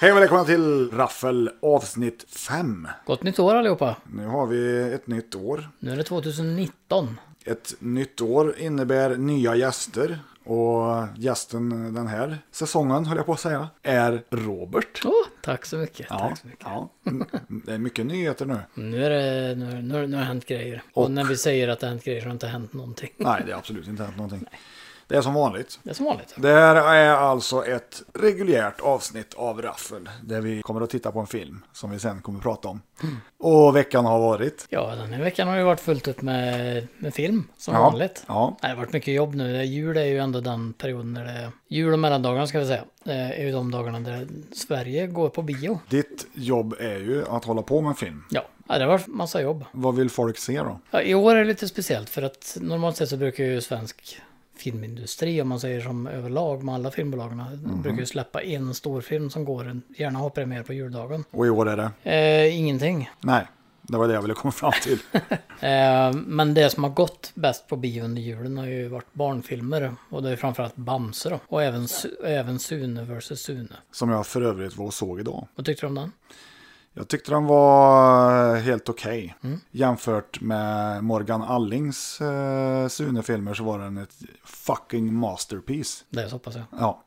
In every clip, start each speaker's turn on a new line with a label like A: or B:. A: Hej och välkomna till Raffel avsnitt 5.
B: Gott nytt år allihopa!
A: Nu har vi ett nytt år.
B: Nu är det 2019.
A: Ett nytt år innebär nya gäster. Och gästen den här säsongen, höll jag på att säga, är Robert.
B: Åh, tack så mycket! Tack så mycket.
A: ja. Det är mycket nyheter nu.
B: Nu, är det, nu, nu, nu har det hänt grejer. Och,
A: Och-
B: när vi säger att det har hänt grejer så har det inte hänt någonting.
A: Nej, det har absolut inte hänt någonting. Det är som vanligt.
B: Det är som vanligt.
A: Det här är alltså ett reguljärt avsnitt av Raffel där vi kommer att titta på en film som vi sen kommer att prata om.
B: Mm.
A: Och veckan har varit.
B: Ja, den här veckan har ju varit fullt upp med, med film, som
A: Ja,
B: vanligt.
A: ja.
B: Nej, det har varit mycket jobb nu. Det är Jul är ju ändå den perioden när det är... Jul och mellandagarna ska vi säga. eh, är ju de dagarna där Sverige går på bio.
A: Ditt jobb är ju att hålla på med en film.
B: Ja, ja, det har varit massa jobb.
A: Vad vill folk se då?
B: Ja, I år är det lite speciellt för att normalt sett så brukar ju svensk filmindustri om man säger som överlag med alla filmbolagen brukar ju släppa en stor film som går en, gärna har premiär på juldagen.
A: Och i år är det?
B: Eh, ingenting.
A: Nej, det var det jag ville komma fram till.
B: Eh, men det som har gått bäst på bio under julen har ju varit barnfilmer och det är framförallt Bamse då. Och även, Su- även Sune vs Sune.
A: Som jag för övrigt var och såg idag.
B: Vad tyckte du om den?
A: Jag tyckte den var helt okej. Jämfört med Morgan Allings eh, Sune-filmer så var den ett fucking masterpiece.
B: Det är så hoppas jag.
A: Ja,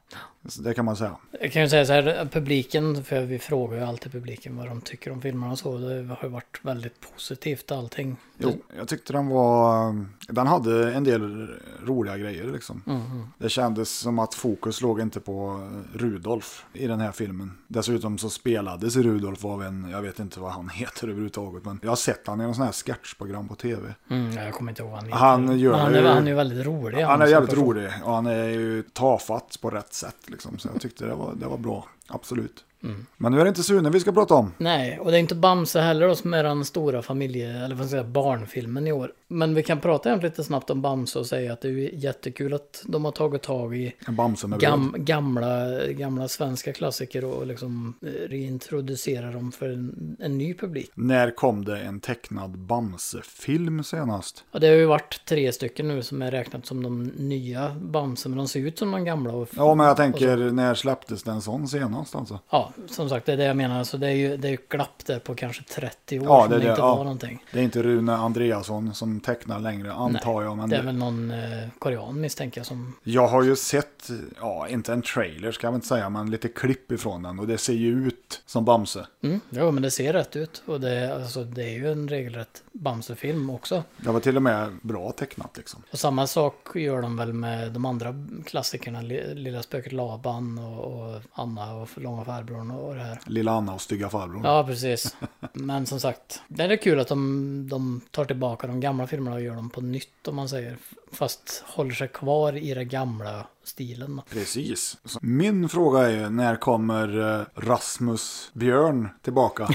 A: så det kan man säga.
B: Jag kan ju säga så här, publiken, för vi frågar ju alltid publiken vad de tycker om filmerna och så. Det har ju varit väldigt positivt allting. Mm,
A: Jo, jag tyckte den var... Den hade en del roliga grejer liksom.
B: mm.
A: Det kändes som att fokus låg inte på Rudolf i den här filmen. Dessutom så spelades Rudolf av en, jag vet inte vad han heter överhuvudtaget, men jag har sett han i någon sån här sketchprogram på tv.
B: Mm, jag kommer inte ihåg vad han heter.
A: Han gör
B: Men han,
A: ju-
B: är, han är ju väldigt rolig.
A: Han är
B: som
A: jävligt
B: person.
A: rolig och han är ju tafatt på rätt sätt liksom. Så jag tyckte det var, det var bra, absolut.
B: Mm.
A: Men nu är det inte Sune vi ska prata om.
B: Nej, och det är inte Bamse heller då, som är den stora familje, eller vad ska jag säga, barnfilmen i år. Men vi kan prata egentligen lite snabbt om Bamse och säga att det är ju jättekul att de har tagit tag i
A: En Bamse med bröd.
B: gam, gamla, gamla svenska klassiker och liksom eh, reintroducera dem för en, en ny publik.
A: När kom det en tecknad Bamse-film senast?
B: Och det har ju varit tre stycken nu som är räknat som de nya Bamse, men de ser ut som de gamla. Och
A: Ja, men jag
B: Alltså-
A: tänker när släpptes den sån senast alltså?
B: Ja, som sagt, det är det jag menar. Så det är ju, det är ju glapp där på kanske 30 år
A: Ja,
B: som
A: det är
B: det,
A: det,
B: inte
A: ja.
B: var någonting.
A: Det är inte Rune Andreasson som tecknar längre, antar jag. Men
B: Det är väl någon eh, korean misstänker jag som...
A: Jag har ju sett, ja, inte en trailer ska jag väl inte säga, men lite klipp ifrån den. Och det ser ju ut som Bamse.
B: Mm, jo, men det ser rätt ut. Och det, är- alltså, det är ju en regelrätt Bamse-film också.
A: Det var till och med bra tecknat liksom.
B: Och samma sak gör de väl med de andra klassikerna. Li- Lilla spöket Laban och, och Anna och Långa farbrorn och det här.
A: Lilla Anna och Stygga farbror.
B: Ja, precis. Men som sagt, det är kul att de, de tar tillbaka de gamla filmerna och gör dem på nytt om man säger. Fast håller sig kvar i den gamla stilen.
A: Precis. Så min fråga är ju, när kommer eh, Rasmus Björn tillbaka?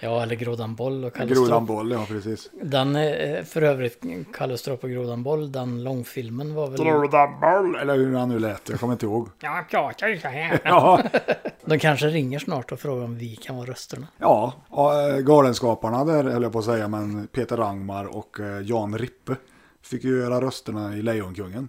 B: Ja, eller Grodan Boll och Kalle Stropp.
A: Grodan Boll, ja precis.
B: Den, eh, för övrigt, Kalle Stropp och Grodan Boll, den långfilmen var väl...
A: Grodan Boll, eller hur han nu lät, jag kommer inte ihåg.
B: Jag pratar ju så här.
A: Ja,
B: De kanske ringer snart och frågar om vi kan vara rösterna.
A: Ja, ja, eh, Galenskaparna där höll jag på att säga, men Peter Rangmar och eh, Jan Rippe fick ju göra rösterna i Lejonkungen.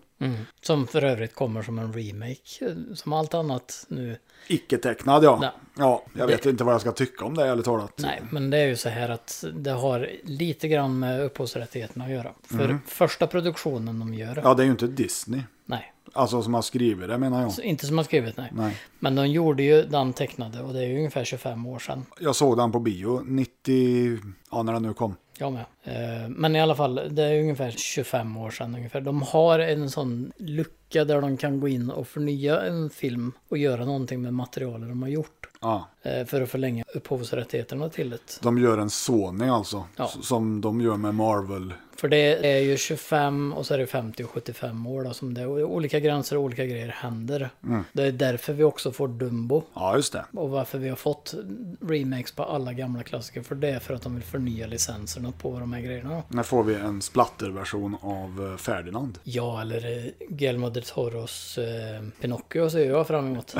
B: Som för övrigt kommer som en remake, eh, som allt annat nu.
A: Icke-tecknad ja.
B: Nej.
A: Ja, jag vet inte vad jag ska tycka om det ärligt talat.
B: Nej, men det är ju så här att det har lite grann med upphovsrättigheterna att göra. För första produktionen de gör,
A: Mm. Ja, det är ju inte Disney.
B: nej,
A: Alltså som har skrivit det menar jag.
B: så inte som har skrivit nej.
A: Nej.
B: Men de gjorde ju den tecknade och det är ju ungefär 25 år sedan.
A: Jag såg den på bio 90, ja när den nu kom.
B: Jag med. Eh, Men i alla fall, det är ungefär 25 år sedan ungefär. De har en sån lucka där de kan gå in och förnya en film och göra någonting med materialet de har gjort.
A: Ja.
B: eh, För att förlänga upphovsrättigheterna till det.
A: De gör en Sony alltså.
B: Ja.
A: s- Som de gör med Marvel.
B: För det är ju 25 och så är det 50 och 75 år då som det är olika gränser och olika grejer händer. Det är därför vi också får Dumbo.
A: Ja, just det.
B: Och varför vi har fått remakes på alla gamla klassiker. För det är för att de vill förnya licenserna på de här grejerna.
A: När får vi en splatterversion av eh, Ferdinand.
B: Ja, eller eh, Guillermo del Toros eh, Pinocchio ser jag fram emot.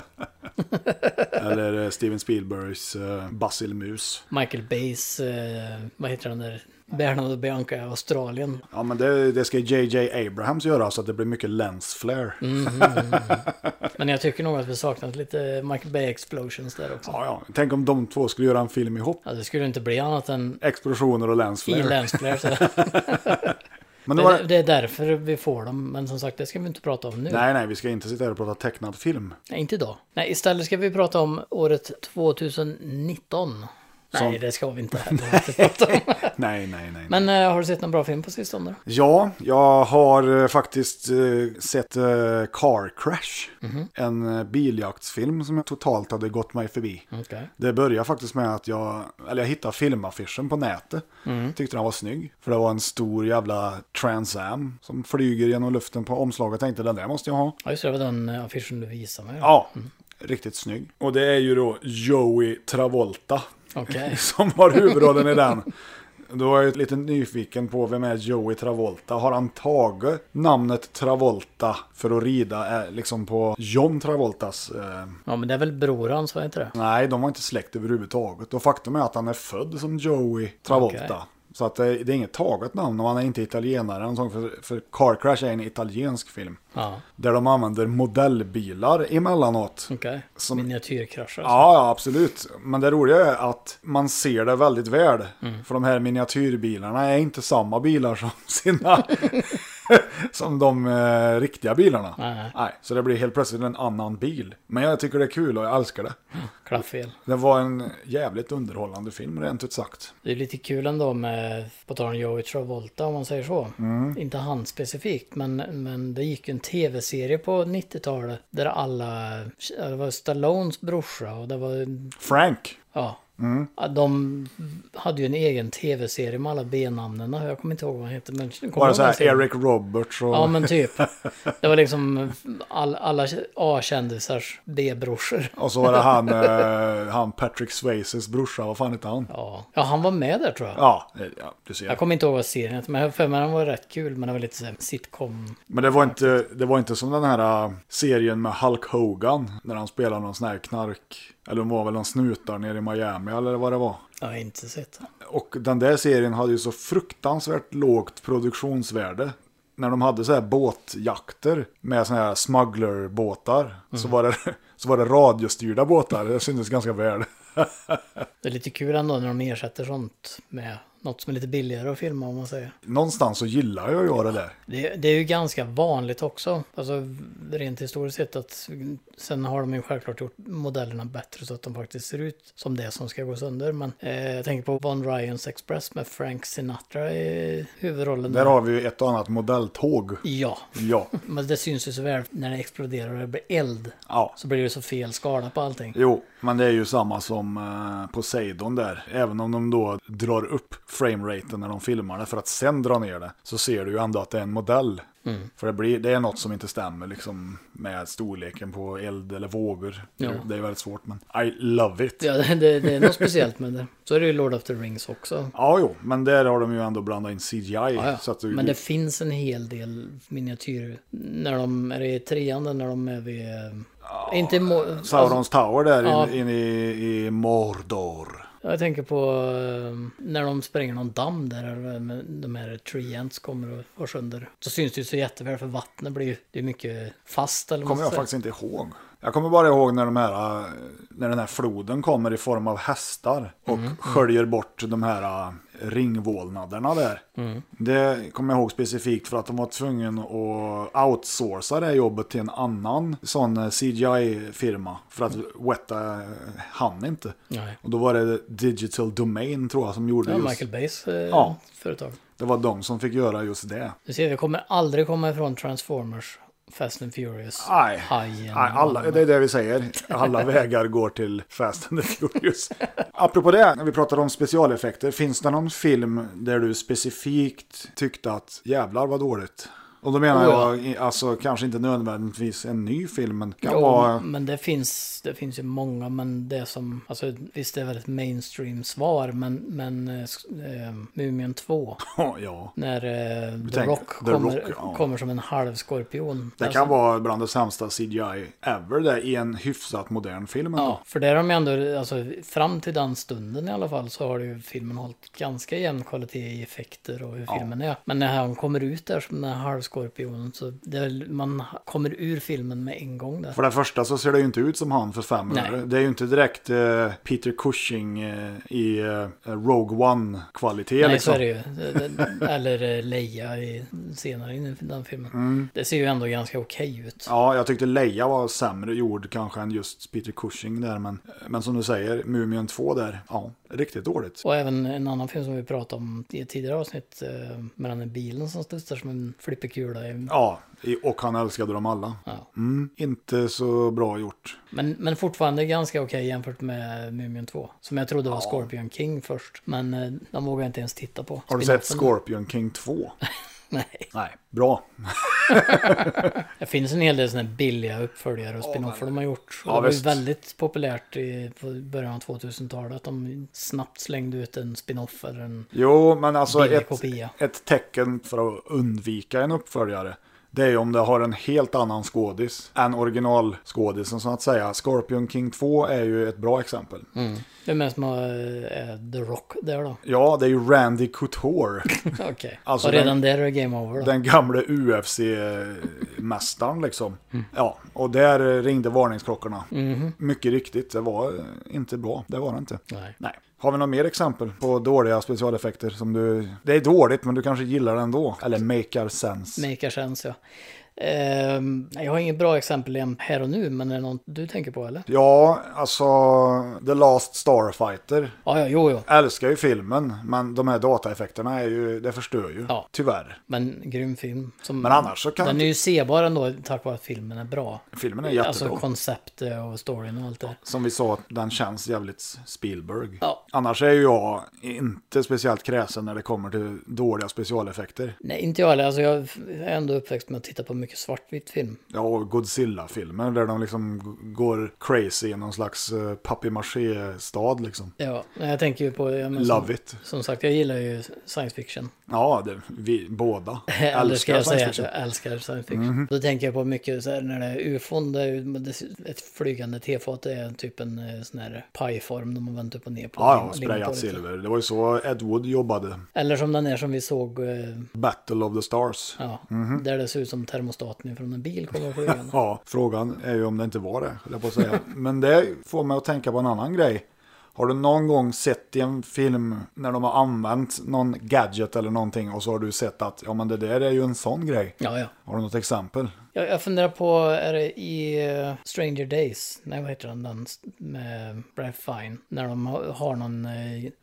A: Eller eh, Steven Spielbergs eh, Basilmus.
B: Michael Bays, eh, vad heter den där? Bernard och Bianca, Australien.
A: Ja, men det, det ska JJ Abrahams göra så att det blir mycket lens flare.
B: Mm.
A: Mm-hmm.
B: Men jag tycker nog att vi saknat lite Michael Bay Explosions där också.
A: Ja, ja. Tänk om de två skulle göra en film ihop.
B: Ja, det skulle inte bli annat än
A: Explosioner och lens
B: i
A: flare.
B: länsflare. så-
A: men
B: Det,
A: det var...
B: är- det är därför vi får dem, men som sagt det ska vi inte prata om nu.
A: Nej, nej, vi ska inte sitta här och prata tecknad film.
B: Nej, inte idag. Nej, istället ska vi prata om året 2019. Nej,
A: Som-
B: det ska vi inte heller prata om.
A: Nej, nej, nej.
B: Men eh, har du sett någon bra film på sistone? då?
A: Ja, jag har eh, faktiskt eh, sett eh, Car Crash. En eh, biljaktsfilm som jag totalt hade gått mig förbi.
B: Okej.
A: Det började faktiskt med att jag, eller jag hittade filmaffischen på nätet. Tyckte den var snygg. För det var en stor jävla Trans Am som flyger genom luften på omslaget. Tänkte den där måste jag ha.
B: Ja, just det, det var den eh, affischen du visade mig. då.
A: Ja, riktigt snygg. Och det är ju då Joey Travolta
B: Okej.
A: som har huvudrollen i den. Då är jag lite nyfiken på vem är Joey Travolta? Har han tagit namnet Travolta för att rida eh, liksom på John Travoltas? Eh,
B: Ja, men det är väl bror hans, vad heter det?
A: nej, de var inte släkt överhuvudtaget. Och faktum är att han är född som Joey Travolta.
B: Okej.
A: Så att eh, det, det är inget taget namn och han är inte italienare. eller något sånt, För, för Car Crash är en italiensk film.
B: Ja,
A: Där de använder modellbilar emellanåt.
B: okej.
A: Som-
B: Miniatyrkraschar.
A: Ja, ja, absolut. Men det roliga är att man ser det väldigt väl.
B: Mm.
A: För de här miniatyrbilarna är inte samma bilar som sina... som de eh, riktiga bilarna.
B: Nej.
A: så det blir helt plötsligt en annan bil. Men jag tycker det är kul och jag älskar det.
B: Klaffel.
A: Det var en jävligt underhållande film, rent ut sagt.
B: Det är lite kul ändå med, på tal om Joey Travolta om man säger så.
A: Mm.
B: Inte han specifikt, men, men det gick ju en tv-serie på 90-talet där alla, det var Stallones brorsa och det var,
A: Frank.
B: ja.
A: Mm.
B: Ja, De hade ju en egen tv-serie med alla B-namnen. Jag kommer inte ihåg vad han hette. Men kommer
A: Bara
B: du
A: så
B: ihåg den
A: här,
B: serien?
A: Eric Roberts och...
B: Ja men typ. Det var liksom all, alla A-kändisars B-brorsor.
A: Och så var det han, eh, han Patrick Swayzes brorsa, vad fan hette han?
B: Ja. ja, han var med där tror jag.
A: Ja, eh, ja du ser.
B: Jag kommer inte ihåg vad serien hette, men jag har för mig den var rätt kul. Men det var lite så här sitcom.
A: Men det var, inte, det var inte som den här äh, serien med Hulk Hogan när han spelade någon sån här knark. Eller de var väl någon snutar nere i Miami eller vad det var.
B: Jag har inte sett den.
A: Och den där serien hade ju så fruktansvärt lågt produktionsvärde. När de hade så här båtjakter med såna här smugglerbåtar så, var det, så var det radiostyrda båtar. Det syntes ganska väl.
B: Det är lite kul ändå när de ersätter sånt med något som är lite billigare att filma om man säger.
A: Någonstans så gillar jag ju det där.
B: Det, det är ju ganska vanligt också. Alltså rent historiskt sett att sen har de ju självklart gjort modellerna bättre så att de faktiskt ser ut som det som ska gå sönder. Men eh, jag tänker på Von Ryans Express med Frank Sinatra i huvudrollen.
A: Där har vi ju ett och annat modelltåg.
B: Ja,
A: Ja,
B: men det syns ju så väl när det exploderar och det blir eld.
A: ja.
B: Så blir det ju så fel skala på allting.
A: Jo, men det är ju samma som eh, Poseidon där. Även om de då drar upp frameraten när de filmar det för att sen dra ner det så ser du ju ändå att det är en modell.
B: Mm.
A: För det, blir, det är något som inte stämmer liksom, med storleken på eld eller vågor.
B: Ja.
A: Det är väldigt svårt, men I love it. Ja.
B: Ja, det, det, det är något speciellt med det. Så är det ju Lord of the Rings också.
A: jo, men där har de ju ändå blandat in CGI.
B: Ja, ja.
A: Så att du,
B: Men det finns en hel del miniatyrer. När de är i trean, där, när de är vid... inte i må- alltså,
A: Saurons Tower där
B: Ja.
A: inne in i, i Mordor.
B: alltså, Jag tänker på eh, när de spränger någon damm där, eller med de här tree ants kommer och går sönder. Så syns det ju så jätteväl för vattnet blir ju, det är mycket fast eller
A: kommer jag
B: säga.
A: faktiskt inte ihåg. Jag kommer bara ihåg när, de här, äh, när den här floden kommer i form av hästar och
B: Mm,
A: sköljer bort de här äh, ringvålnaderna där.
B: Mm.
A: Det kommer jag ihåg specifikt för att de var tvungna att outsourca det här jobbet till en annan sån eh, CGI-firma. För att Weta hann inte.
B: Nej.
A: Och då var det Digital Domain tror jag som gjorde
B: Ja,
A: just.
B: Michael Bays eh,
A: Ja.
B: företag.
A: Det var de som fick göra just det.
B: Du ser, vi kommer aldrig komma ifrån Transformers, Fast and Furious,
A: Nej.
B: Hajen.
A: Ah. Nej, alla, det är det vi säger. Alla vägar går till Fast and the Furious. Apropå det, när vi pratar om specialeffekter, finns det någon film där du specifikt tyckte att jävlar vad dåligt? Och då menar
B: Oh, ja.
A: jag i- alltså kanske inte nödvändigtvis en ny film, men kan
B: Jo,
A: vara...
B: men det finns, det finns ju många, men det som, alltså visst det är väl ett mainstream svar, men, men eh, sk- eh, Mumien 2,
A: ja.
B: när eh, The,
A: tänk-
B: Rock
A: The
B: kommer,
A: Rock, ja.
B: kommer som en halv skorpion.
A: Det
B: Alltså,
A: kan vara bland det sämsta CGI ever det i en hyfsat modern film. ändå.
B: Ja, för där har de ju ändå, alltså fram till den stunden i alla fall så har ju filmen hållit ganska jämn kvalitet i effekter och hur
A: Ja.
B: filmen är. Men när han kommer ut där som den här halvskorpionen så det är, väl- man kommer ur filmen med en gång där.
A: För det första så ser det ju inte ut som han för fem
B: Nej.
A: öre. Det är ju inte direkt eh, Peter Cushing eh, i eh, Rogue One-kvalitet.
B: Nej,
A: Liksom.
B: så är det ju. Eller eh, Leia i, senare in i den filmen. Det ser ju ändå ganska okej ut.
A: Mm. Ja, jag tyckte Leia var sämre gjord kanske än just Peter Cushing där. Men, men som du säger, Mumien 2 där, ja, riktigt dåligt.
B: Och även en annan film som vi pratade om i ett tidigare avsnitt. Eh, med den där bilen som studsar som en flipperkula. i-
A: Ja, i- och han älskade dem alla.
B: Ja.
A: Mm, inte så bra gjort.
B: Men, men fortfarande ganska okej jämfört med Mumien 2. Som jag trodde var
A: Ja.
B: Scorpion King först. Men eh, de vågar jag inte ens titta på.
A: Har du sett
B: Spin-offen.
A: Scorpion King 2?
B: Nej.
A: Nej. Bra.
B: Det finns en hel del sådana här billiga uppföljare och spin-offer de har gjort.
A: Ja,
B: Och det var ju
A: visst.
B: väldigt populärt i på början av 2000-talet. Att de snabbt slängde ut en spin-off eller en...
A: Jo, men alltså
B: Billig
A: ett,
B: kopia.
A: ett tecken för att undvika en uppföljare. Det är ju om det har en helt annan skådis än originalskådisen så att säga. Scorpion King 2 är ju ett bra exempel.
B: Mm. Vem är det som har, är The Rock där då?
A: Ja, det är ju Randy Couture.
B: Okej.
A: Alltså
B: och redan där är det game over då.
A: Den gamle UFC-mästaren liksom.
B: Mm.
A: Ja, och där ringde varningsklockorna.
B: Mhm.
A: Mycket riktigt, det var eh, inte bra. Det var det inte.
B: Nej.
A: Nej. Har vi några mer exempel på dåliga specialeffekter som du... Det är dåligt men du kanske gillar det ändå. Eller makear sense.
B: Maker sense ja. Ehm, jag har inget bra exempel igen här och nu, men är det något du tänker på eller?
A: Ja, alltså The Last Starfighter.
B: Ja, ja, jo, jo.
A: Älskar ju filmen, men de här dataeffekterna är ju, det förstör ju.
B: Ja.
A: Tyvärr.
B: Men grym film. Som,
A: Men annars så kan
B: Den är ju sebar ändå tack vare att filmen är bra.
A: filmen är jättebra.
B: Alltså konceptet och storyn och allt det.
A: Som vi sa, den känns jävligt Spielberg.
B: Ja.
A: Annars är ju jag inte speciellt kräsen när det kommer till dåliga specialeffekter.
B: Nej, inte jag heller. Alltså jag är ändå uppväxt med att titta på mycket svartvitt film.
A: Ja, och Godzilla-filmer där de liksom g- går crazy i någon slags uh, papier-maché-stad liksom.
B: Ja, men jag tänker ju på... Jag menar,
A: Love
B: som,
A: it.
B: som sagt, jag gillar ju science fiction.
A: Ja, det, vi båda
B: Eller
A: älskar
B: ska jag
A: science
B: säga att jag
A: fiction.
B: älskar science fiction.
A: Mhm.
B: Då tänker jag på mycket så här när det är ufon, det är ju- men det är ett flygande tefat, det är typ en eh, sån här pajform de har vänt upp och ner på.
A: Ja, ja,
B: Ligger på
A: sprayat
B: lite.
A: silver. Det var ju så Ed Wood jobbade.
B: Eller som den är som vi såg, eh,
A: Battle of the Stars.
B: ja,
A: Mhm.
B: där det ser ut som termostaten från en bil kommer flygande.
A: Ja, frågan är ju om det inte var det, höll jag på att säga. Men det får mig att tänka på en annan grej. Har du någon gång sett i en film när de har använt någon gadget eller någonting och så har du sett att ja men det där är ju en sån grej.
B: Ja, ja.
A: Har du något exempel?
B: Jag, jag funderar på, är det i eh, Stranger Days? Nej, vad heter den? den s- med Brad Fine. När de ha- har någon eh,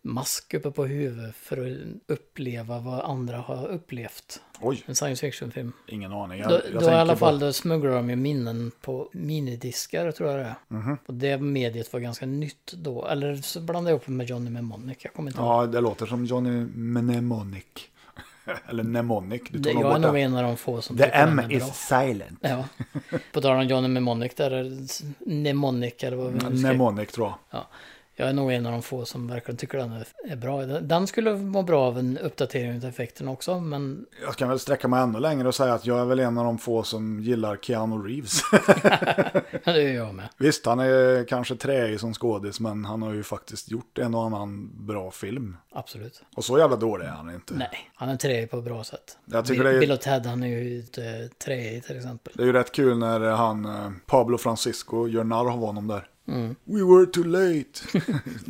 B: mask uppe på huvudet för att uppleva vad andra har upplevt.
A: Oj,
B: En science fiction-film.
A: ingen aning. Jag,
B: Då,
A: jag
B: då i
A: tänker
B: alla
A: på-
B: fall då smugglar de ju minnen på minidiskar tror jag det är.
A: Mhm.
B: Och det mediet var ganska nytt då. Eller så blandade jag ihop det med Johnny Mnemonic. Jag kommer inte ihåg.
A: Ja, det låter som Johnny Mnemonic. eller Mnemonic, du
B: Det,
A: tog nog
B: jag är
A: bort
B: nog
A: det.
B: en av de få som
A: The
B: tycker den
A: M
B: är bra.
A: is silent.
B: Ja. På tal om Johnny Mnemonic där. eller Mnemonic eller vad vi nu ska
A: Mnemonic tror jag.
B: Ja. Jag är nog en av de få som verkligen tycker den är- är bra. Den den skulle må bra av en uppdatering av effekten också, men
A: Jag kan väl sträcka mig ännu längre och säga att jag är väl en av de få som gillar Keanu Reeves.
B: det är jag med.
A: Visst, han är kanske träig som skådis, men han har ju faktiskt gjort en och annan bra film.
B: Absolut.
A: Och så jävla dålig är han inte.
B: Nej, han är träig på ett bra sätt.
A: Jag tycker
B: Bill,
A: det är-
B: Bill och Ted, han är ju inte träig till exempel.
A: Det är ju rätt kul när han, eh, Pablo Francisco, gör narr av honom där.
B: Mm.
A: We were too late.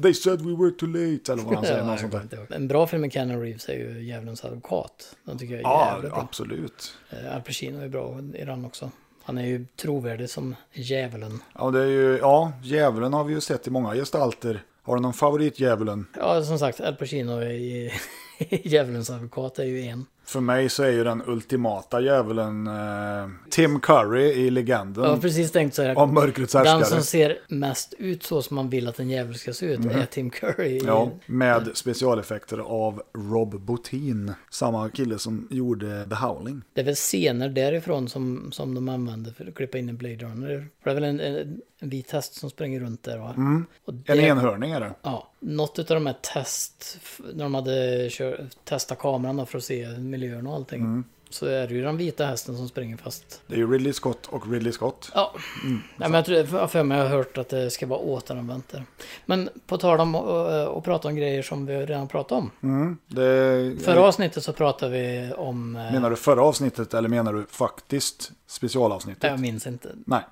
A: They said we were too late. Eller vad han säger,
B: Ja,
A: något sånt
B: jag kommer
A: där.
B: inte ihåg. En bra film med Keanu Reeves är ju Djävulens advokat. Den tycker jag är
A: Ja,
B: jävligt bra.
A: absolut.
B: Eh, Al Pacino är bra i den också. Han är ju trovärdig som djävulen.
A: Ja, det är ju, ja, djävulen har vi ju sett i många gestalter. Har du någon favorit djävulen?
B: Ja, som sagt, Al Pacino i i Djävulens advokat är ju en.
A: För mig så är ju den ultimata djävulen eh, Tim Curry i Legenden.
B: Jag har precis tänkt så här.
A: Om mörkrets
B: Den
A: härskare.
B: som ser mest ut så som man vill att en djävul ska se ut är Tim Curry. i-
A: Mm. Ja, med specialeffekter av Rob Bottin. Samma kille som gjorde The Howling.
B: Det är väl scener därifrån som, som de använder för att klippa in en Blade Runner. För det är väl en, en, en vit häst som springer runt där va? Och
A: Mm. En
B: det-
A: enhörning är det.
B: Ja, något av de här test, när de hade kör, testat kameran då för att se miljön och allting. Så är det ju den vita hästen som springer fast.
A: Det är ju Ridley Scott och Ridley Scott.
B: Ja, Nej, men jag tror, jag har för mig jag har hört att det ska vara återanvänt där. Men på tal om att eh, att prata om grejer som vi redan pratat om.
A: Mm, det,
B: Förra avsnittet så pratade vi om... eh,
A: menar du förra avsnittet eller menar du faktiskt specialavsnittet?
B: Jag minns inte.
A: Nej.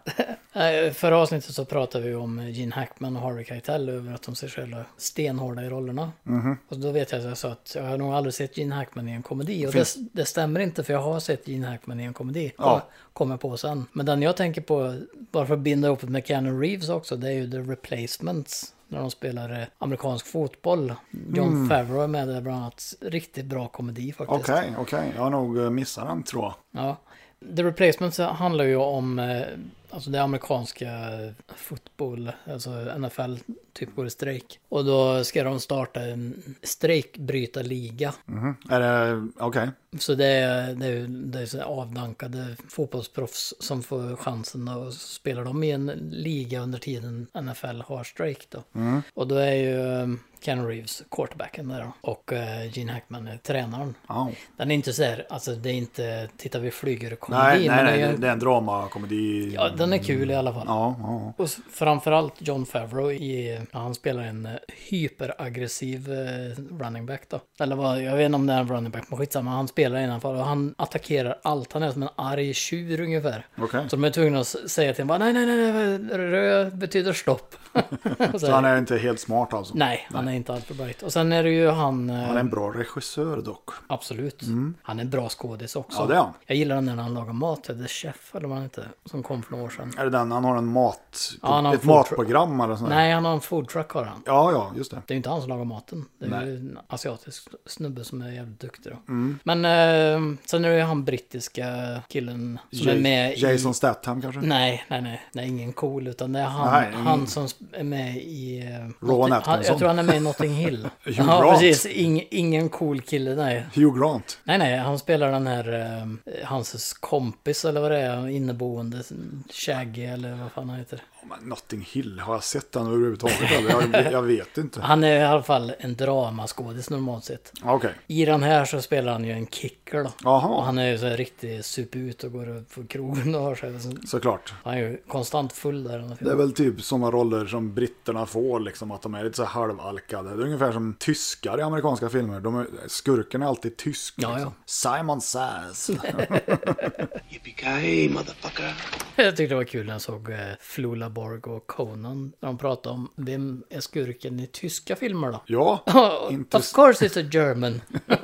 B: Eh, Förra avsnittet så pratade vi om Gene Hackman och Harvey Keitel över att de ser själva stenhårda i rollerna.
A: Mhm.
B: Och då vet jag att jag sa att jag har nog aldrig sett Gene Hackman i en komedi. Och det,
A: Finns-
B: det stämmer inte för jag har sett Gene Hackman i en komedi.
A: Ja.
B: Och kommer på sen. Men den jag tänker på, bara för att binda ihop det med Keanu Reeves också, det är ju The Replacements. När de spelar eh, amerikansk fotboll. John Favreau är med där bland annat. Riktigt bra komedi faktiskt.
A: Mm. Okej, okej. Jag har nog eh, missat den tror jag.
B: Ja. The Replacements handlar ju om eh, alltså det amerikanska fotboll, alltså NFL, typ går i strejk. Och då ska de starta en strejkbrytarliga.
A: Mhm. Är det, okej.
B: Så det är, det är, ju- det är så här avdankade fotbollsproffs som får chansen och så spelar de i en liga under tiden NFL har strejk då.
A: Mm.
B: Och då är ju eh, Ken Reeves quarterbacken där då. och eh, Gene Hackman är tränaren.
A: Ja.
B: Den är inte så här, alltså det är inte, titta vi flyger komedi.
A: Nej, nej, nej,
B: men det är
A: det,
B: ju-
A: det är en dramakomedi.
B: Ja, den är kul i alla fall.
A: Ja, ja.
B: Och s- framförallt John Favreau, i, ja, han spelar en eh, hyperaggressiv eh, running back då. Eller vad, jag vet inte om det är en running back, men skitsamma. Han spelar i alla fall och han attackerar allt. Han är som en arg tjur ungefär.
A: Okej.
B: Så de är tvungna att s- säga till honom, bara, nej, nej, nej, nej, röd betyder stopp. Och så
A: Så
B: här,
A: han är inte helt smart alltså?
B: Nej, han är inte alltför bright. Och sen är det ju han... eh,
A: Han är en bra regissör dock.
B: Absolut. Han är en bra skådis också.
A: Ja, det är han.
B: Jag gillar den när han lagar mat, The Chef eller vad han heter, som kom för några år sedan.
A: Är det den han har en mat...
B: Ja, han har
A: ett
B: food truck.
A: matprogram eller sånt där?
B: Nej, han har en food truck har han.
A: Ja, ja, just det.
B: Det är ju inte han som lagar maten. Det är ju en asiatisk snubbe som är jävligt duktig då.
A: Mm.
B: Men eh, sen är det ju han brittiska killen som är
A: Ja-
B: med
A: Jason
B: i...
A: Statham kanske?
B: Nej, nej, nej. Det är ingen cool, utan det är han,
A: Nej, ingen-
B: han som är med i... eh,
A: Rowan
B: Notting- han,
A: Atkinson.
B: Jag tror han är med i Notting Hill.
A: Hugh
B: ja,
A: Grant.
B: precis. Ing, ingen cool kille, nej.
A: Hugh Grant.
B: Nej, nej, han spelar den här, eh, hans kompis eller vad det är, inneboende, Shaggy eller vad fan han heter.
A: Ja, men Notting Hill, har jag sett den överhuvudtaget? eller? Jag, jag vet inte.
B: Han är i alla fall en dramaskådis normalt sett.
A: Okej.
B: I den här så spelar han ju en kicker då. Och
A: Jaha,
B: han är ju så här riktigt sup ut och går upp på krogen och har sig. Så
A: såklart.
B: Han är ju konstant full där. i den här
A: Det är
B: filmen.
A: väl typ sådana roller som britterna får, liksom att de är lite så här halvalkade. Det är ungefär som tyskar i amerikanska filmer. De är, skurken är alltid tysk.
B: Ja,
A: liksom. Simon Says.
C: Yippee-ki-yay, motherfucker.
B: Jag tyckte det var kul när jag såg eh, Flula Borg och Conan. När de pratade om vem är skurken i tyska filmer då?
A: Ja,
B: of
A: intress-
B: course it's a
A: Mm.
B: German.
A: det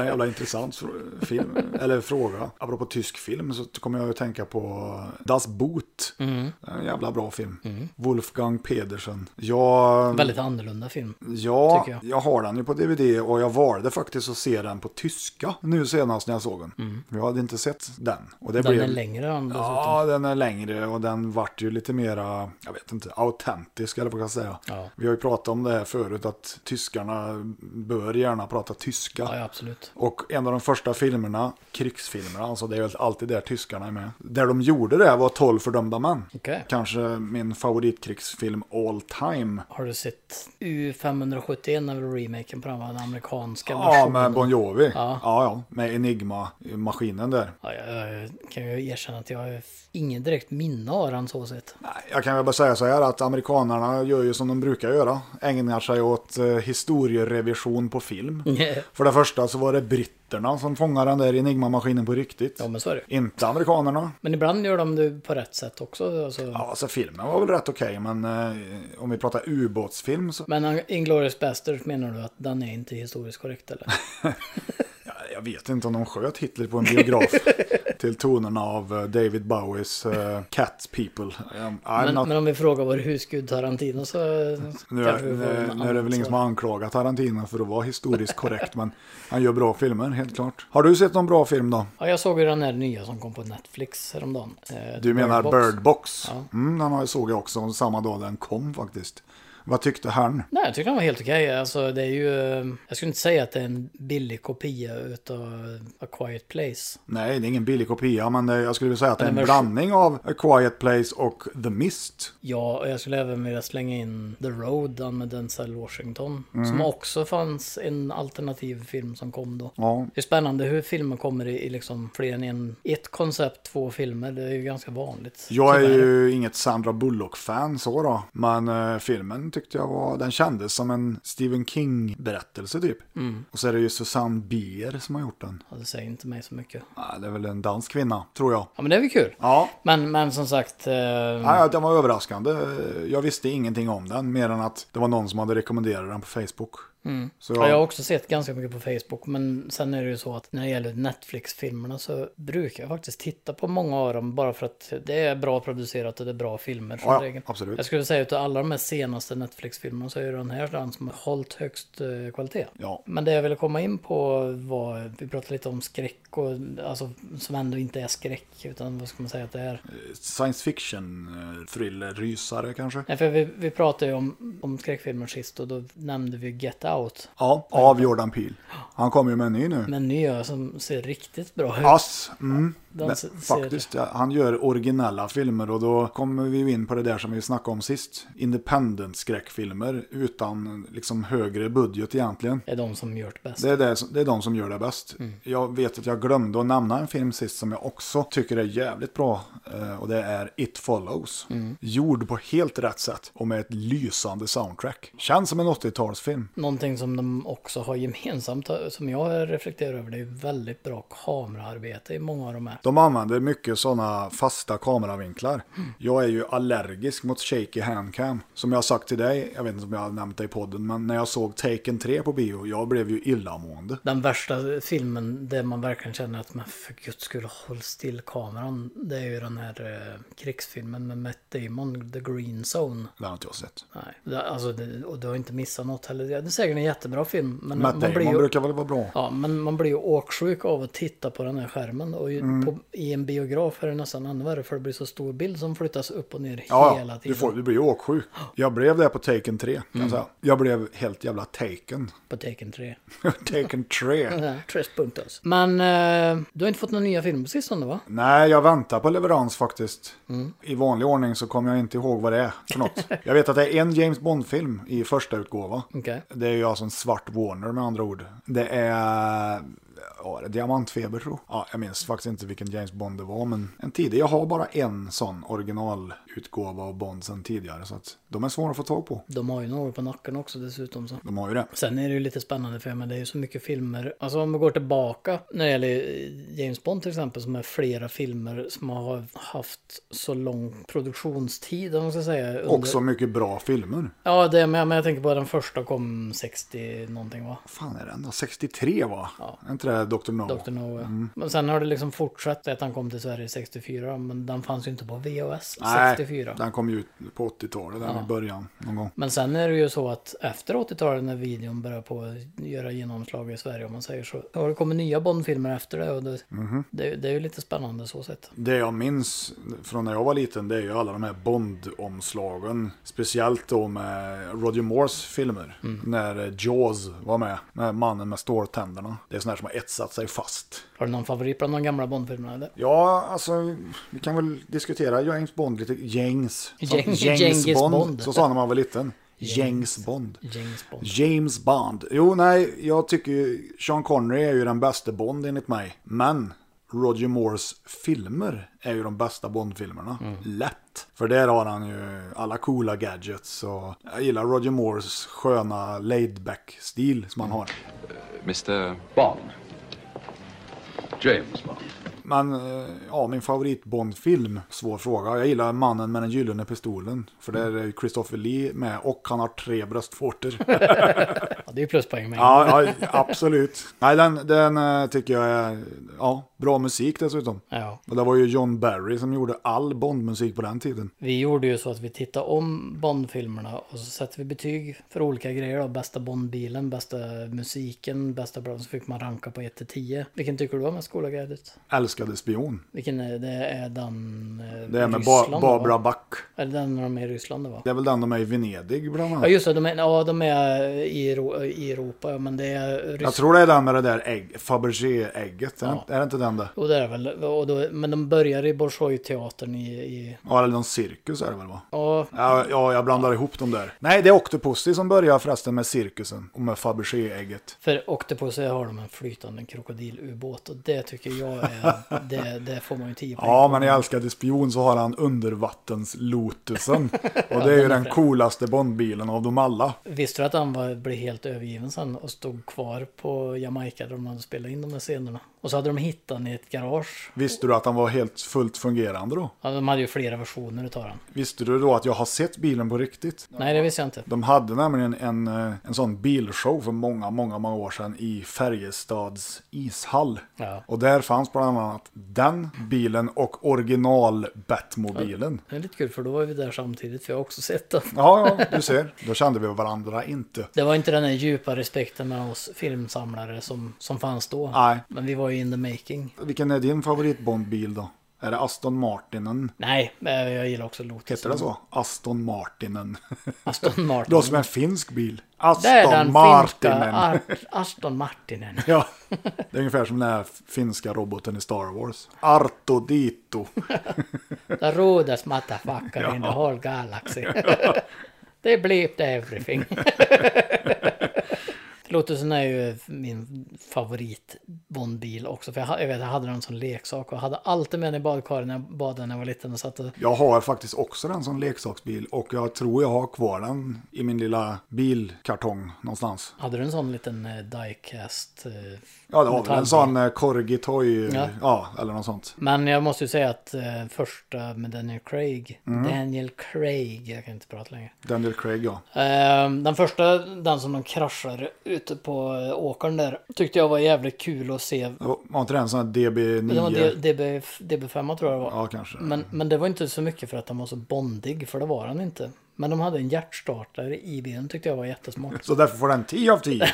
A: är en jävla intressant fr- film, eller fråga. Apropå tysk film så kommer jag att tänka på Das Boot.
B: Mm.
A: Det är En jävla bra film. Wolfgang Pedersen. Jag...
B: Väldigt annorlunda film.
A: Ja,
B: tycker
A: jag.
B: jag.
A: har den ju på DVD och jag valde faktiskt att se den på tyska nu senast när jag såg den. Jag hade inte sett den. Och det
B: Mm. Den
A: blev...
B: är längre än dessutom.
A: Ja, den är längre och den vart ju lite mera, jag vet inte, autentisk eller vad jag ska säga.
B: Ja.
A: Vi har ju pratat om det här förut att tyskarna bör gärna prata tyska.
B: Ja, ja, absolut.
A: Och en av de första filmerna, krigsfilmerna, alltså det är väl alltid där tyskarna är med. Där de gjorde det var 12 fördömda män.
B: Okej.
A: Kanske min favoritkrigsfilm all time.
B: Har du sett U571 av remaken på den, va? den amerikanska
A: Ja, med
B: versionen?
A: Bon Jovi.
B: Ja.
A: ja, ja. med Enigma-maskinen där.
B: Ja, jag, jag kan ju erkänna att jag har ingen direkt minne av den så sett.
A: Nej, Jag kan väl bara säga så här att amerikanarna gör ju som de brukar göra. Ägnar sig åt eh, historierevision på film.
B: Mm.
A: För det första så var det britterna som fångade den där Enigma-maskinen på riktigt.
B: ja, men så är det.
A: Inte amerikanerna.
B: Men ibland gör de det på rätt sätt också. Alltså.
A: Ja, alltså filmen var väl rätt okej, men eh, om vi pratar ubåtsfilm så...
B: uh, Men Inglourious Basterds menar du att den är inte historiskt korrekt eller?
A: jag vet inte om de sköt Hitler på en biograf till tonerna av eh, David Bowies eh, Cat People. Um, I'm
B: Men,
A: not,
B: men om vi frågar vår husgud Tarantino så
A: nu, är,
B: kanske vi
A: nu,
B: får en
A: är- nu är det
B: annan
A: väl ingen som
B: svar.
A: har anklagat Tarantino för att vara historiskt korrekt, men han gör bra filmer, helt klart. Har du sett någon bra film då?
B: Ja, jag såg ju den här nya som kom på Netflix häromdagen. Eh,
A: Du menar
B: Box.
A: Bird Box?
B: Ja.
A: Mm, den har jag såg jag också samma dag den kom faktiskt. Vad tyckte han?
B: Nej, jag tyckte den var helt okej. Alltså, det är ju... eh, Jag skulle inte säga att det är en billig kopia utav A Quiet Place.
A: Nej, det är ingen billig kopia, men eh, jag skulle vilja säga att det är en
B: Men-
A: blandning av A Quiet Place och The Mist.
B: Ja, och jag skulle även vilja slänga in The Road den med Denzel Washington.
A: Mm.
B: Som också fanns en alternativ film som kom då.
A: Ja,
B: Det är spännande hur filmer kommer i, i liksom fler än en, ett koncept, två filmer. Det är ju ganska vanligt.
A: Jag är
B: tyvärr.
A: ju inget Sandra Bullock-fan så då, men eh, filmen tyckte jag var, den kändes som en Stephen King-berättelse typ.
B: Mm.
A: Och så är det ju Susanne Bier som har gjort den.
B: Ja, det säger inte mig så mycket.
A: Ah, det är väl en dansk kvinna, tror jag.
B: Ja, men det är väl kul.
A: Ja,
B: Men, men som sagt... Eh,
A: nej, den var överraskande. Jag visste ingenting om den, mer än att det var någon som hade rekommenderat den på Facebook. Så
B: Mm. Ja,
A: jag,
B: jag har också sett ganska mycket på Facebook, men sen är det ju så att när det gäller Netflix-filmerna så brukar jag faktiskt titta på många av dem bara för att det är bra producerat och det är bra filmer som
A: Ja, ja,
B: regel.
A: absolut.
B: Jag skulle säga att av alla de här senaste Netflix-filmerna så är ju den här den som har hållit högst eh, kvalitet.
A: Ja.
B: Men det jag ville komma in på var, vi pratade lite om skräck och alltså som ändå inte är skräck utan vad ska man säga att det är?
A: Science fiction, eh, thriller, rysare kanske?
B: Nej, för vi, vi pratade ju om, om skräckfilmer sist och då nämnde vi Get Out.
A: Ja, av Jordan Peele. Han kommer ju med en ny nu.
B: Men nya som ser riktigt bra ut.
A: Ass. Mm.
B: Den
A: Men
B: se- Typ. ser-
A: faktiskt, ja, han gör originella filmer och då kommer vi ju in på det där som vi snackade om sist. Independent-skräckfilmer utan liksom högre budget egentligen.
B: är de som gjort bäst.
A: Det är, det, som- det är de som gör det bäst.
B: Mm.
A: Jag vet att jag glömde att nämna en film sist som jag också tycker är jävligt bra. eh, Och det är It Follows.
B: Mm.
A: Gjord på helt rätt sätt och med ett lysande soundtrack. Känns som en 80-talsfilm.
B: Någonting som de också har gemensamt, som jag reflekterar över, det är väldigt bra kameraarbete i många av de här.
A: De använder mycket sådana fasta kameravinklar. Jag är ju allergisk mot shaky handcam. Som jag har sagt till dig, jag vet inte om jag har nämnt det i podden, men när jag såg Taken 3 på bio, jag blev ju illamående.
B: Den värsta filmen där man verkligen känner att man för guds skull håll still kameran. Det är ju den här eh, krigsfilmen med Matt Damon, The Green Zone.
A: Det har inte jag sett.
B: Nej, det, alltså, det, och du har inte missat något heller. Det är säkert en jättebra film. Men
A: Matt
B: man
A: Damon
B: blir ju,
A: brukar väl vara bra.
B: ja, men man blir ju åksjuk av att titta på den här skärmen. Och ju,
A: Mm.
B: på, i en biograf är det nästan ännu värre för det blir så stor bild som flyttas upp och ner
A: Ja,
B: hela
A: ja,
B: tiden. Mm.
A: du, får, du blir ju åksjuk. Jag blev det på Taken 3, kan jag säga. Jag blev helt jävla taken.
B: På Taken 3.
A: taken 3.
B: Tres punktos. Men eh, du har inte fått några nya filmer på sistone va?
A: Nej, jag väntar på leverans faktiskt.
B: Mm.
A: I vanlig ordning så kommer jag inte ihåg vad det är för något. jag vet att det är en James Bond-film i första utgåva.
B: Okej.
A: Det är ju alltså en svart Warner med andra ord. Det är... Ja, det är diamantfeber tror jag. Ja, jag minns faktiskt inte vilken James Bond det var, men en tidig. Jag har bara en sån originalutgåva av Bond sedan tidigare, så att de är svåra att få tag på.
B: De har ju några på nacken också dessutom. Så.
A: De har ju det.
B: Sen är det ju lite spännande för men det är ju så mycket filmer. Alltså om vi går tillbaka när det gäller eh, James Bond till exempel som är flera filmer som har haft så lång produktionstid om man ska säga. under-
A: Också mycket bra filmer.
B: Ja, det med, men jag tänker på den första kom 60 någonting va?
A: fan är det ändå? 63 va? Är inte det Dr. No?
B: Dr. No. ja.
A: Mm.
B: Men sen har det liksom fortsatt att han kom till Sverige 64 men den fanns ju inte på VHS 64.
A: Nej, den kom ju ut på 80-talet, den i början någon gång.
B: Men sen är det ju så att efter 80-talet när videon börjar på att göra genomslag i Sverige om man säger så. Har det kommit nya Bondfilmer efter det och det,
A: Mhm.
B: det, det är ju lite spännande så sett.
A: Det jag minns från när jag var liten det är ju alla de här Bond-omslagen. Speciellt då med Roger Moores filmer.
B: Mm.
A: När Jaws var med, med mannen med ståltänderna. Det är sådana här som har etsat sig fast.
B: Har du någon favorit bland de gamla Bondfilmerna eller?
A: Ja, alltså vi kan väl diskutera James Bond lite. Gängs. Som-
B: Gäng- Genghis Bond.
A: Så sa när man var liten. Gängs Bond.
B: James Bond.
A: James Bond. Jo, nej, jag tycker ju Sean Connery är ju den bästa Bond enligt mig. Men Roger Moores filmer är ju de bästa Bond-filmerna. Lätt. För där har han ju alla coola gadgets och jag gillar Roger Moores sköna laid back stil som han har.
C: Mr.
D: Bond. James Bond.
A: Men eh, ja, min favorit Bond-film, svår fråga. Jag gillar Mannen med den gyllene pistolen. För där är ju Christopher Lee med och han har tre bröstvårtor.
B: Ja, det är ju pluspoäng med.
A: Ja, ja absolut. Nej, den, den eh, tycker jag är ja, bra musik dessutom.
B: Ja.
A: Och det var ju John Barry som gjorde all Bond-musik på den tiden.
B: Vi gjorde ju så att vi tittade om Bond-filmerna och så satte vi betyg för olika grejer då. Bästa Bond-bilen, bästa musiken, bästa bra. Så fick man ranka på 1 till 10. Vilken tycker du var mest coola guidet?
A: Älskade spion.
B: Vilken är det? är den... eh,
A: Det är med
B: Ryssland,
A: ba-
B: va?
A: Barbara Buck.
B: Är det den när de är i Ryssland det var?
A: Det är väl den de är i Venedig bland
B: Ja
A: annat.
B: just det, de är, ja, de är i, Ero, i Europa, ja, men det är Ryssland.
A: Jag tror det är den med det där ägg, Fabergé-ägget. Är,
B: Ja.
A: det- är det inte den det?
B: Och det är väl, och då, men de börjar i Bolshoi-teatern i, i...
A: Ja, eller någon cirkus är det väl va?
B: Ja,
A: Ja, ja, jag blandar ihop dem där. Nej, det är Octopussy som börjar förresten med cirkusen och med Fabergé-ägget.
B: för Octopus har de en flytande krokodilubåt och det tycker jag är, det, det får man ju 10 poäng
A: Ja,
B: på.
A: men i Älskade Spion så har han undervattens-Lotusen. Och det är ju den coolaste Bondbilen av dem alla.
B: Visste du att han var, blev helt övergiven sen och stod kvar på Jamaica där de hade spelat in de här scenerna? Och så hade de hittat honom i ett garage.
A: Visste du att han var helt fullt fungerande då?
B: Ja, de hade ju flera versioner utav den.
A: Visste du då att jag har sett bilen på riktigt?
B: Nej, det visste jag inte.
A: De hade nämligen en, eh, en sån bilshow för många, många, många år sedan i Färjestads ishall.
B: Ja.
A: Och där fanns bland annat den bilen och original-Batmobilen.
B: Det är lite kul för då var vi där samtidigt för jag har också sett den.
A: Ja, ja, du ser. Då kände vi varandra inte.
B: Det var inte den här djupa respekten mellan oss filmsamlare som, som fanns då.
A: Nej.
B: Men vi var ju in the making.
A: Vilken är din favoritbondbil då? Är det Aston Martinen?
B: Nej, eh, jag gillar också Lotus.
A: Heter det så? Aston Martinen.
B: Aston Martin.
A: Då som en finsk bil.
B: Det är
A: Aston
B: den
A: Martinen.
B: finska Ah. Ar- Aston Martinen.
A: Ja, det är ungefär som den här finska roboten i Star Wars. Arto Dito.
B: The rudest motherfucker in the whole galaxy. They bleeped everything. Lotusen är ju min favorit Bondbil också. För jag, ha- jag vet, jag hade den som leksak och hade alltid med den i badkaret när jag badade när jag var liten och satt och
A: Jag har faktiskt också den som leksaksbil och jag tror jag har kvar den i min lilla bilkartong någonstans.
B: Hade du en sån liten eh, diecast? eh,
A: Ja, det var väl en
B: metallbil?
A: sån eh, Corgi-toy,
B: Ja.
A: ja. eller något sånt.
B: Men jag måste ju säga att eh, första med Daniel Craig.
A: Mm.
B: Daniel Craig, jag kan inte prata längre.
A: Daniel Craig, ja.
B: Eh, den första, den som de kraschar ute på eh, åkern där. Tyckte jag var jävligt kul att se.
A: Det var- Var inte det en sån här DB9?
B: Det var D- DB, DB5 tror jag det var.
A: Ja, kanske.
B: Men, men det var inte så mycket för att han var så bondig, för det var han inte. Men de hade en hjärtstartare i bilen tyckte jag var jättesmart.
A: Så därför får den 10 av 10.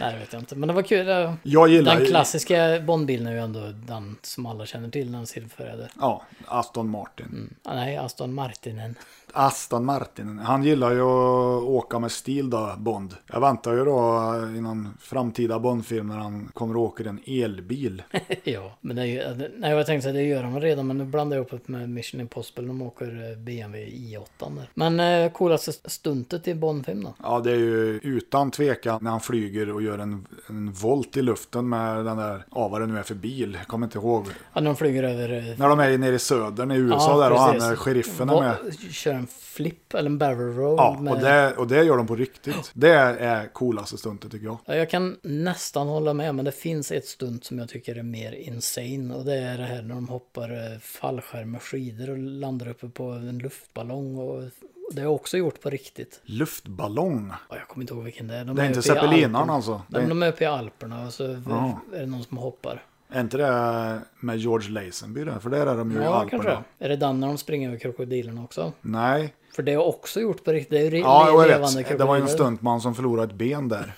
B: Nej, det vet jag inte. Men det var kul. eh,
A: Jag gillar
B: Den
A: ju-
B: klassiska Bondbilen är ju ändå den som alla känner till, den silverfärgade.
A: Ja, Aston Martin.
B: Ah, nej, Aston Martinen.
A: Aston Martin. Han gillar ju att åka med stil då, Bond. Jag väntar ju då i någon framtida Bond-film när han kommer att åka i en elbil.
B: ja, men det är ju, nej, jag tänkte att det gör de redan, men nu blandar jag ihop det med Mission Impossible. De åker eh, BMW i8 där. Men eh, coolaste stuntet i Bondfilm då?
A: Ja, det är ju utan tvekan när han flyger och gör en, en volt i luften med den där, ja vad det nu är för bil, jag kommer inte ihåg.
B: Ja, när de flyger över... eh,
A: När de är nere i södern i USA
B: ja,
A: där och han,
B: precis.
A: eh, sheriffen är
B: Va-
A: med.
B: Kör en flip eller en barrel roll.
A: Ja,
B: med,
A: och det, och det gör de på riktigt. Det är coolaste stuntet tycker jag.
B: Ja, Jag kan nästan hålla med, men det finns ett stunt som jag tycker är mer insane. Och det är det här när de hoppar eh, fallskärm med skidor och landar uppe på en luftballong. Och och det är också gjort på riktigt.
A: Luftballong.
B: Ja, Jag kommer inte ihåg vilken det är. De
A: Det är inte
B: uppe i
A: zeppelinaren
B: Alperna.
A: alltså. Det
B: Nej, men
A: är,
B: de är uppe i Alperna och så
A: Ja.
B: är det någon som hoppar.
A: är inte det med George Lazenby där? För där är de ju i
B: Ja, kanske.
A: Alperna.
B: Är det den när de springer över krokodilerna också?
A: Nej,
B: För det är också gjort på riktigt. Det är ju re-
A: Ja, jag
B: levande
A: vet.
B: krokodiler.
A: Det var ju en stuntman som förlorade ett ben där.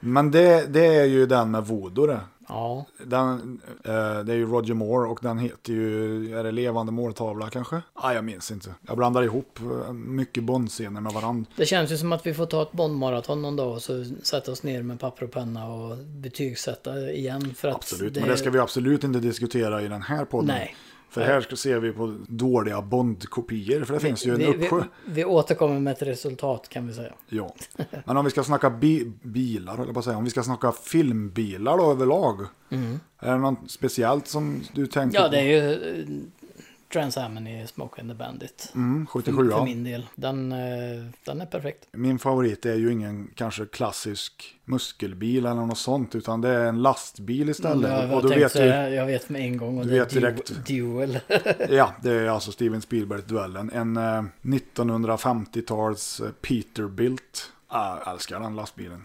A: Men det, det är ju den med voodoo det.
B: Ja,
A: Den, eh, det är ju Roger Moore och den heter ju, är det levande måltavla kanske? Ah, jag minns inte. Jag blandar ihop eh, mycket Bondscener med varandra.
B: det känns ju som att vi får ta ett Bondmaraton någon dag och så sätta oss ner med papper och penna och betygsätta igen. För att
A: Absolut, men det ska vi absolut inte diskutera i den här podden.
B: Nej.
A: För här ska- ser vi på dåliga Bondkopior, för det finns ju en
B: vi, vi,
A: uppsjö.
B: vi återkommer med ett resultat kan vi säga.
A: Ja. Men om vi ska snacka bi- bilar, eller på att säga, om vi ska snacka filmbilar då överlag. Är det något speciellt som du tänker
B: Mm. Ja,
A: på?
B: det är ju eh, Trans Ammen i Smoke and the Bandit.
A: Mm,
B: För,
A: 77
B: för
A: ja.
B: min del. Den, eh, den är perfekt.
A: Min favorit är ju ingen kanske klassisk muskelbil eller något sånt, utan det är en lastbil istället.
B: Ja, Mm, jag,
A: och du vet
B: tänkte,
A: ju,
B: jag vet med en gång och
A: du
B: det är
A: vet direkt.
B: du- Duel.
A: ja, det är alltså Steven Spielberg-duellen. En eh, 1950-tals eh, Peterbilt. Jag älskar den lastbilen.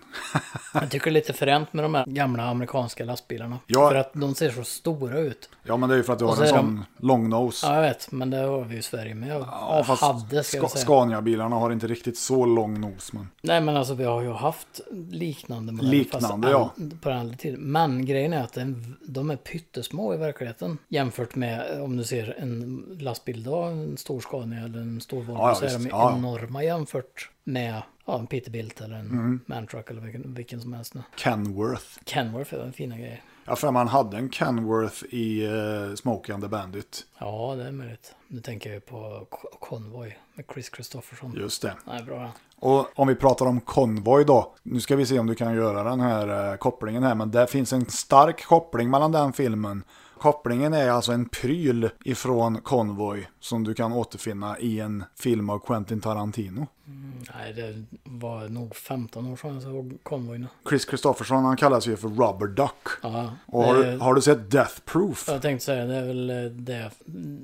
B: Jag tycker det är lite fränt med de här gamla amerikanska lastbilarna.
A: Ja.
B: För att de ser så stora ut.
A: Ja, men det är ju för att du
B: Och
A: har
B: så
A: en
B: är
A: sån lång nose.
B: Ja, jag vet. Men det har vi ju i Sverige med. Ja,
A: fast
B: hade, ska jag
A: Ska-
B: säga.
A: Scania-bilarna har inte riktigt så lång nos. Men...
B: Nej, men alltså vi har ju haft liknande modeller.
A: Liknande,
B: fast an- På den andra tiden. Men grejen är att den, de är pyttesmå i verkligheten. Jämfört med om du ser en lastbil idag, en stor Scania eller en stor Volvo.
A: Ja, ja,
B: så är
A: visst.
B: de
A: Ja, ja.
B: enorma jämfört med ja, en Peterbilt eller en
A: Mm.
B: Mantruck eller vilken, vilken som helst. nu.
A: Kenworth.
B: Kenworth är en fina grejer.
A: Jag för man hade en Kenworth i eh, Smoke and the Bandit.
B: Ja, det är möjligt. Nu tänker jag ju på K- Convoy med Chris Christopherson.
A: Just det.
B: Nej, bra.
A: Och om vi pratar om konvoj då. Nu ska vi se om du kan göra den här eh, kopplingen här. Men det finns en stark koppling mellan den filmen. Kopplingen är alltså en pryl ifrån konvoj som du kan återfinna i en film av Quentin Tarantino.
B: Nej, det var nog 15 år sedan jag såg Convoy nu.
A: Chris Kristofferson han kallas ju för Rubber Duck.
B: Ja,
A: Och har,
B: det-
A: du- har du sett Death Proof?
B: Jag tänkte säga det är väl eh, det.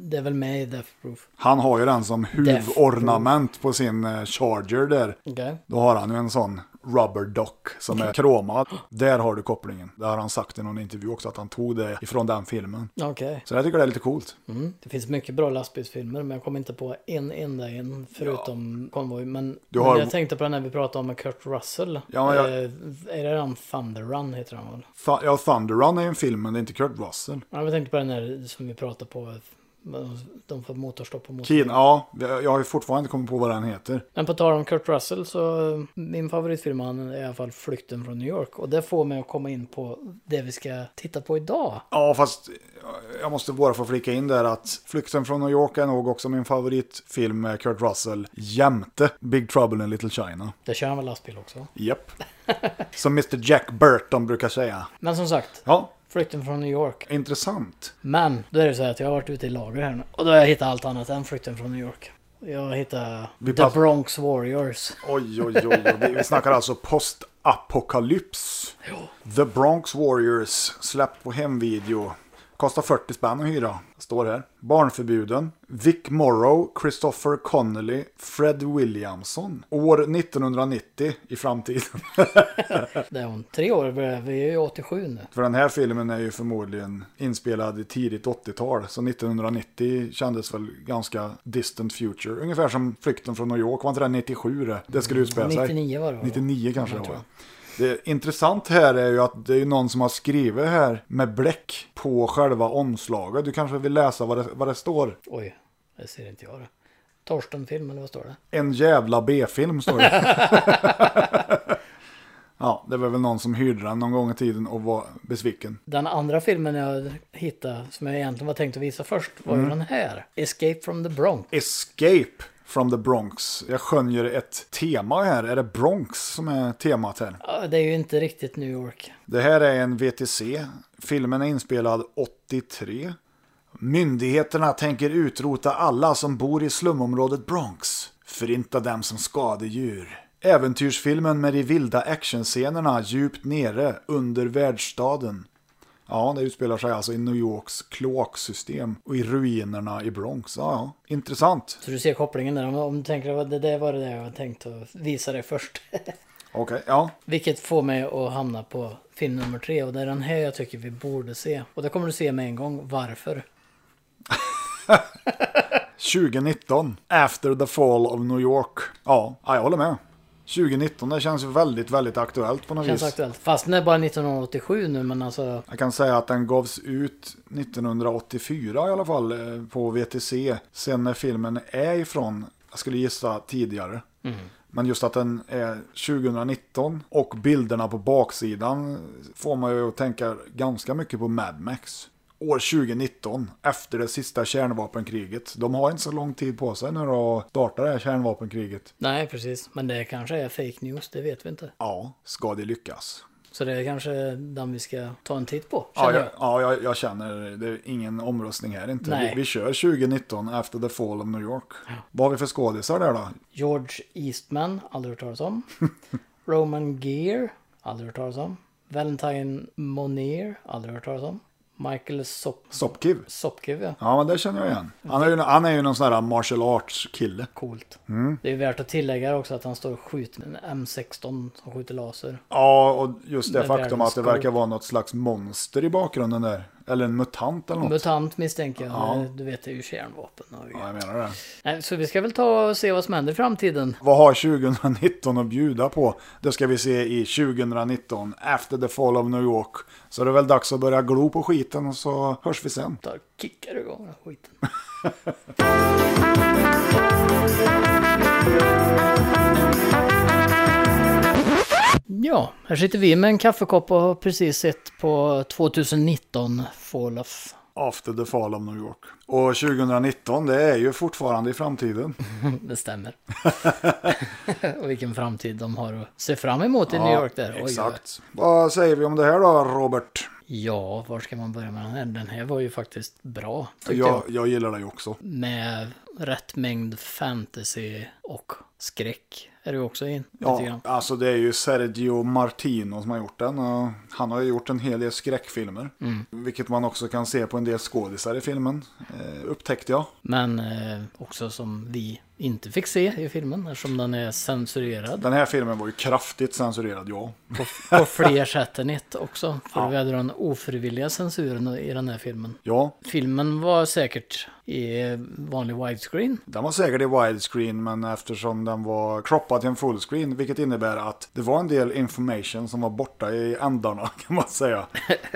B: Det är väl med i Death Proof.
A: Han har ju den som
B: Proof.
A: huvornament på sin eh, charger där.
B: Okej.
A: Då har han ju en sån rubber dock som är kromad. Där har du kopplingen. Det har han sagt i någon intervju också att han tog det ifrån den filmen.
B: Okej.
A: Så jag tycker det är lite coolt.
B: Mm. Det finns mycket bra lastbilsfilmer men jag kommer inte på en enda en förutom Convoy. Men,
A: Du har-
B: men jag tänkte på den här vi pratade om med Kurt Russell.
A: Ja, men jag-
B: Eh, är det den Thunder Run heter den väl?
A: Th- ja, Thunder Run är ju en film men det är inte Kurt Russell.
B: Ja, jag tänkte på den här som vi pratade på. eh, De får motorstopp på motor.
A: Keen, ja, jag har ju fortfarande inte kommit på vad den heter.
B: Men på tal om Kurt Russell så eh, min favoritfilm han är i alla fall Flykten från New York. Och det får mig att komma in på det vi ska titta på idag.
A: Ja, fast eh, jag måste bara få flika in där att Flykten från New York är nog också min favoritfilm med Kurt Russell jämte Big Trouble in Little China.
B: Där kör han väl lastbil också.
A: Japp. Som Mr Jack Burton brukar säga.
B: Men som sagt,
A: Ja,
B: Flykten från New York.
A: intressant.
B: Men då är det så här att jag har varit ute i lager här nu. Och då har jag hittat allt annat än Flykten från New York. Jag hittar
A: Vi
B: The
A: pass-
B: Bronx Warriors.
A: Oj, oj, oj. oj. Vi- Vi snackar alltså postapokalyps. The Bronx Warriors, släppt på hemvideo. Kostar 40 spänn att hyra. Står här. Barnförbjuden. Vic Morrow, Christopher Connolly, Fred Williamson. År 1990 i framtiden.
B: Det är om tre år, börjar- vi är ju 87 nu.
A: För den här filmen är ju förmodligen inspelad i tidigt 80-tal. Så 1990 kändes väl ganska distant future. Ungefär som Flykten från New York. Var inte det 97 det? Det skulle utspela sig.
B: 99 Mm. var det va?
A: 99 kanske det
B: Jag
A: var.
B: tror
A: ja. Det intressant här är ju att det är ju någon som har skrivit här med bläck på själva omslaget. Du kanske vill läsa vad det, vad det står?
B: Oj, det ser inte jag det. Torsten film eller vad står det?
A: En jävla B-film står det. ja, det var väl någon som hyrde den någon gång i tiden och var besviken.
B: Den andra filmen jag hittade, som jag egentligen var tänkt att visa först, var ju den här. Escape from the Bronx.
A: Escape from the Bronx. Jag skönjer ett tema här. Är det Bronx som är temat här?
B: Ja, Det är ju inte riktigt New York.
A: Det här är en VTC. Filmen är inspelad 83. Myndigheterna tänker utrota alla som bor i slumområdet Bronx. Förinta dem som skadedjur. Äventyrsfilmen med de vilda actionscenerna djupt nere under världsstaden. Ja, det utspelar sig alltså i New Yorks kloaksystem och i ruinerna i Bronx. Ja, ja. Intressant.
B: Så du ser kopplingen där. Om- Om du tänker att det där var det där jag var tänkt att visa dig först.
A: Okej, ja.
B: Vilket får mig att hamna på film nummer tre och det är den här jag tycker vi borde se. Och det kommer du se med en gång varför.
A: 2019. After the fall of New York. Ja, ja, jag håller med. 2019, det känns ju väldigt, väldigt aktuellt på något
B: Känns
A: vis.
B: aktuellt. Fast den är bara 1987 nu men alltså.
A: Jag kan säga att den gavs ut 1984 i alla fall eh, på VTC. Sen när filmen är ifrån, jag skulle gissa tidigare. Men just att den är 2019 och bilderna på baksidan får man ju att tänka ganska mycket på Mad Max. År 2019, efter det sista kärnvapenkriget. De har inte så lång tid på sig nu då att starta det här kärnvapenkriget.
B: Nej precis. Men det kanske är fake news. Det vet vi inte.
A: Ja, ska det lyckas?
B: Så det är kanske den vi ska ta en titt på.
A: Ja,
B: Känner
A: jag,
B: jag.
A: ja jag, jag känner det är ingen omröstning här inte.
B: Nej.
A: Vi, vi kör 2019 efter the fall of New York. Vad har vi för skådisar där då?
B: George Eastman. Aldrig hört talas om. Roman Gear. Aldrig hört talas om. Valentine Monier. Aldrig hört talas om. Michael Sop
A: Sopkiv.
B: Sopkiv, ja.
A: Ja, men det känner jag igen. Han är ju, han är ju någon sån här martial arts-kille.
B: Coolt.
A: Mm.
B: Det är värt att tillägga också att han står och skjuter med en M16 som skjuter laser.
A: Ja, och just det
B: Med
A: faktum att det
B: världens
A: verkar vara något slags monster i bakgrunden där. Eller en mutant eller något.
B: Mutant misstänker jag.
A: Ja.
B: Du vet, det är ju kärnvapen. Och...
A: Ja, jag menar det.
B: Nej, så vi ska väl ta och se vad som händer i framtiden.
A: Vad har 2019 att bjuda på? Det ska vi se i 2019, After the Fall of New York. Så det är väl dags att börja glo på skiten och så hörs vi sen.
B: Tar, kickar igång den här skiten. Ja, här sitter vi med en kaffekopp och har precis sett på 2019 Fall of...
A: After the Fall of New York. Och 2019, det är ju fortfarande i framtiden.
B: Det stämmer. och vilken framtid de har att se fram emot i New York där. Oj, oj, oj.
A: Exakt. Vad säger vi om det här då, Robert?
B: Ja, var ska man börja med den här? Den här var ju faktiskt bra, tyckte jag.
A: Jag, jag gillar det ju också.
B: Med rätt mängd fantasy och skräck är det också in. lite
A: Ja,
B: grann.
A: alltså det är ju Sergio Martino som har gjort den. Och han har ju gjort en hel del skräckfilmer.
B: Mm.
A: Vilket man också kan se på en del skådisar i filmen. Eh, upptäckte jag.
B: Men eh, också som vi inte fick se i filmen eftersom den är censurerad.
A: Den här filmen var ju kraftigt censurerad, ja.
B: På, på fler sätt än ett också. För vi hade den ofrivilliga censuren i den här filmen.
A: Ja,
B: Filmen var säkert i vanlig widescreen.
A: den var säkert i widescreen men eftersom den var croppad till en fullscreen vilket innebär att det var en del information som var borta i ändarna kan man säga.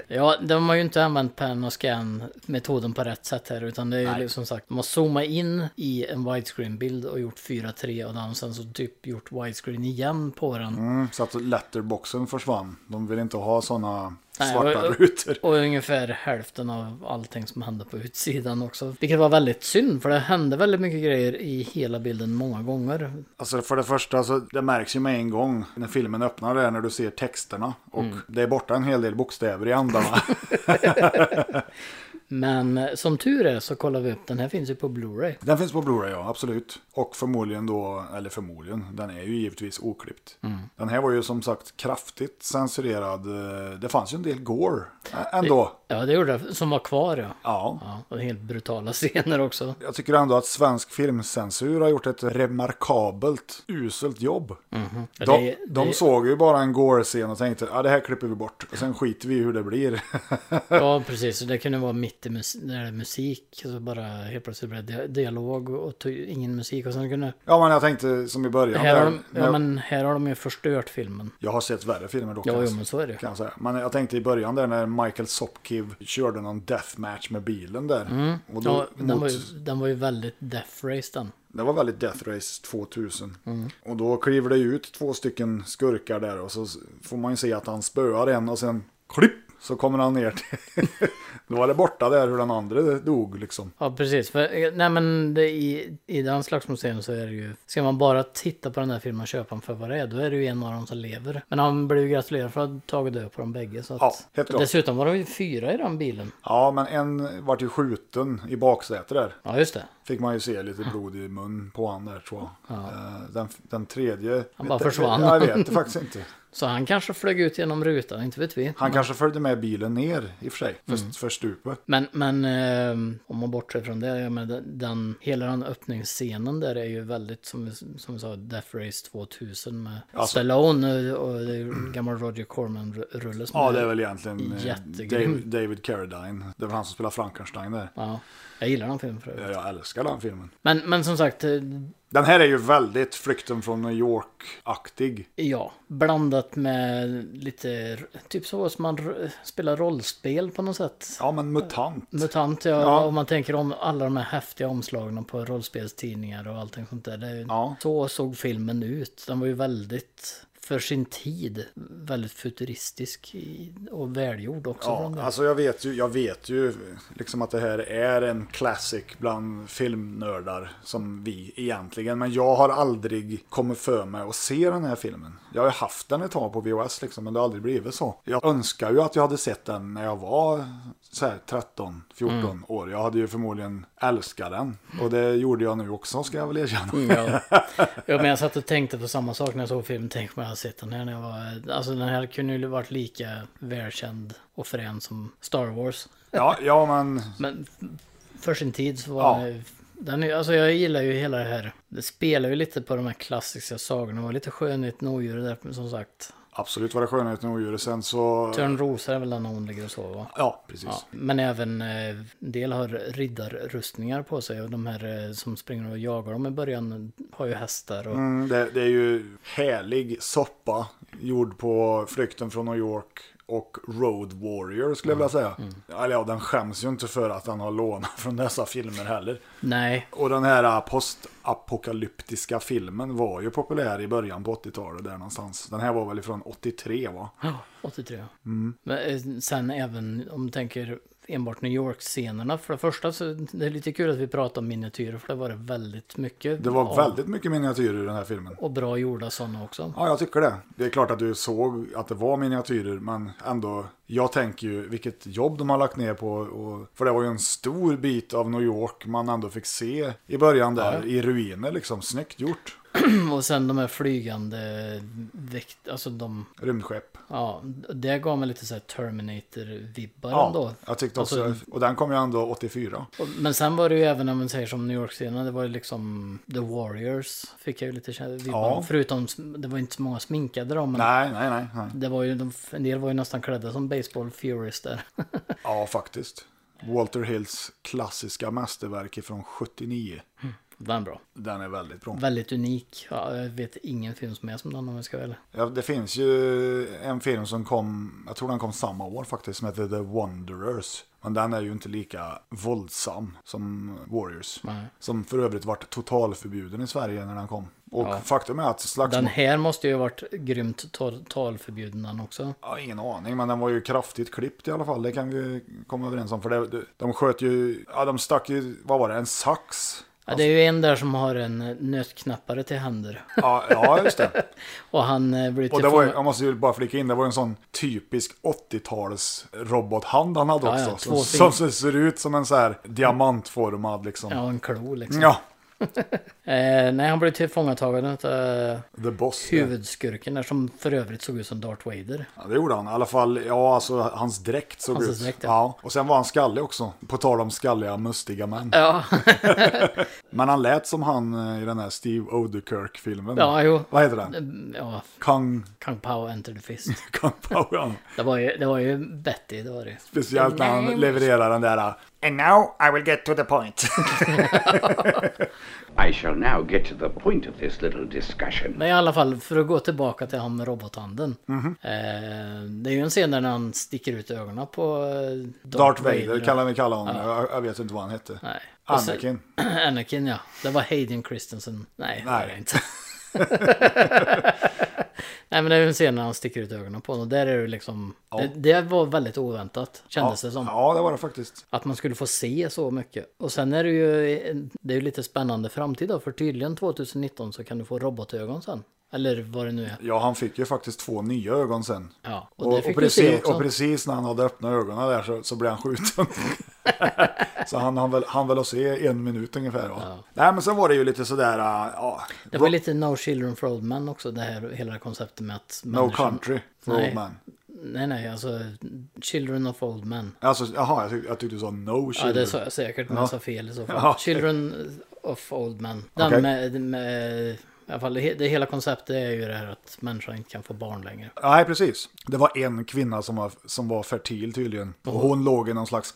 B: Ja, de har ju inte använt pen och scan metoden på rätt sätt här utan det är ju som sagt, de har zoomat in i en widescreen-bild och gjort 4-3 och den och sen så typ gjort widescreen igen på den.
A: Mm, så att letterboxen försvann. De vill inte ha sådana
B: Nej,
A: svarta
B: och- och-
A: rutor.
B: Och ungefär hälften av allting som hände på utsidan också. Vilket var väldigt synd för det hände väldigt mycket grejer i hela bilden många gånger.
A: Alltså för det första så det märks ju med en gång när filmen öppnar där när du ser texterna. Och
B: Mm.
A: det är borta en hel del bokstäver i andarna.
B: Men eh, som tur är så kollar vi upp, den här finns ju på Blu-ray.
A: den finns på Blu-ray ja, absolut. Och förmodligen då, eller förmodligen, den är ju givetvis oklippt.
B: Mm.
A: Den här var ju som sagt kraftigt censurerad. Eh, Det fanns ju en del gore ä- ändå.
B: Ja, det gjorde det, som var kvar ja.
A: Ja.
B: Ja, och helt brutala scener också.
A: Jag tycker ändå att svensk filmcensur har gjort ett remarkabelt uselt jobb.
B: Ja,
A: De,
B: Mm. det-
A: de
B: det-
A: såg ju bara en gore-scen och tänkte att ah, det här klipper vi bort. Och sen skiter vi i hur det blir.
B: Ja, precis. Så Det kunde vara mitt i mus- när det är musik. Så bara helt plötsligt blev det dialog och ty- ingen musik. Och sen kunde...
A: ja men jag tänkte som i början.
B: Här har,
A: där,
B: de,
A: när-
B: ja, men här har de ju förstört filmen.
A: Jag har sett värre filmer dock.
B: Ja, jo,
A: alltså,
B: men så är det ju.
A: kan jag säga. Men jag tänkte i början där när Michael Sopkiv körde någon deathmatch med bilen där. Och då,
B: Mm. Ja, den,
A: mot,
B: var ju, den var ju väldigt death race den.
A: Det var väldigt Death Race 2000.
B: Mm.
A: Och då kliver det ju ut två stycken skurkar där och så s- får man ju se att han spöar en och sen klipp så kommer han ner till... då var det borta där hur den andra dog liksom.
B: Ja, precis. För, eh, nej, men det, i, i den slagsmålsserien så är det ju... Ska man bara titta på den här filmen och köpa den för vad det är, då är det ju en av dem som lever. Men han blev ju gratulerad för att ha tagit död på dem bägge. Så att,
A: Ja, helt klart.
B: Dessutom var de ju fyra i den bilen.
A: Ja, men en vart ju skjuten i baksätet där.
B: Ja, just det.
A: Fick man ju se lite blod i mun på han där tror jag. Eh, Den, den tredje...
B: Han bara
A: vet-
B: försvann.
A: Jag vet det faktiskt inte.
B: Så han kanske flög ut genom rutan, inte vet vi.
A: Han kanske följde med bilen ner i och för sig, för, för stupet.
B: Men, men eh, om man bortser från det, jag menar, den- den, hela den öppningsscenen där är ju väldigt, som vi, som vi sa, Death Race 2000 med
A: Alltså-
B: Stallone och, och det är ju gammal Roger Corman-rulle som
A: Ja, det är väl egentligen eh,
B: Jättegrym.
A: David, David Carradine. Det var han som spelade Frankenstein där.
B: Ja, jag gillar den filmen för övrigt.
A: Jag älskar den filmen.
B: Men, men som sagt, eh,
A: Den här är ju väldigt flykten från New York-aktig.
B: ja, blandat med lite, typ så som man r- spelar rollspel på något sätt.
A: Ja, men mutant.
B: Mutant, ja,
A: Ja.
B: om man tänker om alla de här häftiga omslagen på rollspelstidningar och allting sånt där. Det, är-
A: Ja.
B: Så såg filmen ut. Den var ju väldigt, för sin tid, väldigt futuristisk i- och välgjord också. från
A: Ja,
B: det.
A: alltså jag vet ju, jag vet ju liksom att det här är en classic bland filmnördar som vi egentligen. Men jag har aldrig kommit för mig att se den här filmen. Jag har ju haft den ett tag på VHS liksom, men det har aldrig blivit så. Jag önskar ju att jag hade sett den när jag var så här 13, 14 år. Jag hade ju förmodligen älskat den. Och det
B: Mm.
A: gjorde jag nu också ska jag väl erkänna.
B: Ja. ja, men jag satt och tänkte på samma sak när jag såg filmen. Tänk mig ha sett den här när jag var... Alltså den här kunde ju varit lika välkänd och frän som Star Wars.
A: Ja, ja men
B: Men f- för sin tid så var
A: Ja.
B: den, den... är- Alltså jag gillar ju hela det här. Det spelar ju lite på de här klassiska sagorna. Det var lite skönheten och odjuret där men som sagt.
A: absolut var det skönheten och odjuret. Sen så...
B: Törnrosa är väl den när hon ligger och sover va?
A: Ja, precis.
B: Ja, men även eh, en del har riddarrustningar på sig och de här eh, som springer och jagar dem i början har ju hästar och
A: Mm, det, det är ju härlig soppa gjord på flykten från New York och Road Warrior skulle jag vilja säga. Eller ja, den skäms ju inte för att han har lånat från dessa filmer heller.
B: nej,
A: Och den här postapokalyptiska filmen var ju populär i början på 80-talet där någonstans. Den här var väl från 83 va?
B: Ja, 83.
A: Mm.
B: Men eh, sen även om du tänker enbart New York-scenerna. För det första så det är lite kul att vi pratar om miniatyrer för det var det väldigt mycket.
A: Det var
B: av-
A: väldigt mycket miniatyrer i den här filmen.
B: Och bra gjorda sådana också.
A: Ja, jag tycker det. Det är klart att du såg att det var miniatyrer, men ändå. Jag tänker ju vilket jobb de har lagt ner på. Och, för det var ju en stor bit av New York man ändå fick se i början där, i ruiner liksom. Snyggt gjort.
B: Och sen de här flygande väkt, alltså de,
A: Rymdskepp.
B: ja, det gav mig lite så här Terminator-vibbar
A: Ja,
B: ändå.
A: jag tyckte också,
B: Alltså-
A: och den kom ju ändå 84.
B: Och- Men sen var det ju även när man säger som New York-scenen, det var ju liksom The Warriors. Fick jag ju lite kä- vibbar.
A: Ja.
B: Förutom, det var ju inte så många sminkade då, men
A: Nej, nej, nej. nej.
B: det var ju, de- en del var ju nästan klädda som baseball Furies där.
A: Ja, faktiskt. Walter Hills klassiska mästerverk från 79.
B: Den bra.
A: Den är väldigt bra.
B: Väldigt unik. Ja, jag vet ingen film som är som den om jag ska välja.
A: Ja, det finns ju en film som kom, jag tror den kom samma år faktiskt, som heter The Wanderers. Men den är ju inte lika våldsam som Warriors.
B: Nej.
A: Som för övrigt vart totalförbjuden i Sverige när den kom. Och faktum är att
B: Den
A: slagsmål...
B: här måste ju ha varit grymt tal- talförbjuden den också.
A: Ja, ingen aning, men den var ju kraftigt klippt i alla fall. Det kan vi komma överens om. För det, det, de sköt ju, ja de stack ju, vad var det, en sax?
B: Ja, det är ju en där som har en eh, nötknappare till händer.
A: Ja, ja just det.
B: Och han eh, blir
A: Och det var, ju-
B: tillfånga-
A: jag måste ju bara flika in, det var ju en sån typisk 80-tals robothand han hade
B: Ja, ja,
A: också.
B: två
A: som,
B: fingrar.
A: som ser ut som en så här diamantformad liksom. Ja.
B: Ja, en klo liksom. Eh, nej, han blir tillfångatagen utav
A: The Boss. det.
B: huvudskurken där som för övrigt såg ut som Darth Vader.
A: Ja, det gjorde han. I alla fall, ja alltså hans dräkt såg
B: Hans
A: ut.
B: dräkt, ja.
A: ja. Och sen var han skallig också. På tal om skalliga, mustiga män.
B: Ja,
A: Men han lät som han eh, i den här Steve Odekirk-filmen.
B: ja jo.
A: Vad heter den?
B: Ja,
A: Kung...
B: Kung Pao Enter the Fist.
A: Kung Pao.
B: Det var ju, det var ju Betty, det var det ju.
A: Speciellt när han levererar den där... eh,
C: And now I will get to the point.
D: I shall now get to the point of this little discussion.
B: Men i alla fall, för att gå tillbaka till han med robothanden.
A: Mhm.
B: Eh, det är ju en scen där när han sticker ut ögonen på eh,
A: Darth Vader kallar vi kalla honom. Jag, jag vet inte vad han hette.
B: Nej. Och sen-
A: Anakin.
B: Anakin ja. Det var Hayden Christensen. Nej, det var
A: Nej.
B: det inte. Nej men det är ju en scen när han sticker ut ögonen på honom. Och Där är det liksom... Det, det var väldigt oväntat kändes det som.
A: Ja, det var det faktiskt.
B: Att man skulle få se så mycket. Och sen är det ju, det är ju lite spännande framtid då, för tydligen 2019 så kan du få robotögon sen. Eller vad det nu är.
A: Ja, han fick ju faktiskt två nya ögon sen.
B: Ja, och,
A: Och,
B: det
A: och,
B: fick du se
A: precis,
B: också.
A: och precis när han hade öppnat ögonen där så, så blev han skjuten. så han, han, väl, han väl att se en minut ungefär. Va? Nej, men sen var det ju lite sådär... äh, Ja,
B: det var ju lite No Children for Old Men också, det här, hela det här konceptet med att...
A: No
B: människan-
A: country for
B: Nej.
A: old man.
B: Nej, nej, alltså Children of Old Men.
A: Alltså, jaha, jag, tyck, jag tyckte du sa no children.
B: Ja, det sa jag säkert, men jag sa fel i så fall.
A: Ja.
B: Children of Old Men. Den
A: Okej.
B: med, med... I alla fall, det, det hela konceptet är ju det här att människan inte kan få barn längre.
A: Nej, precis. Det var en kvinna som var, som var fertil tydligen. Och hon låg i någon slags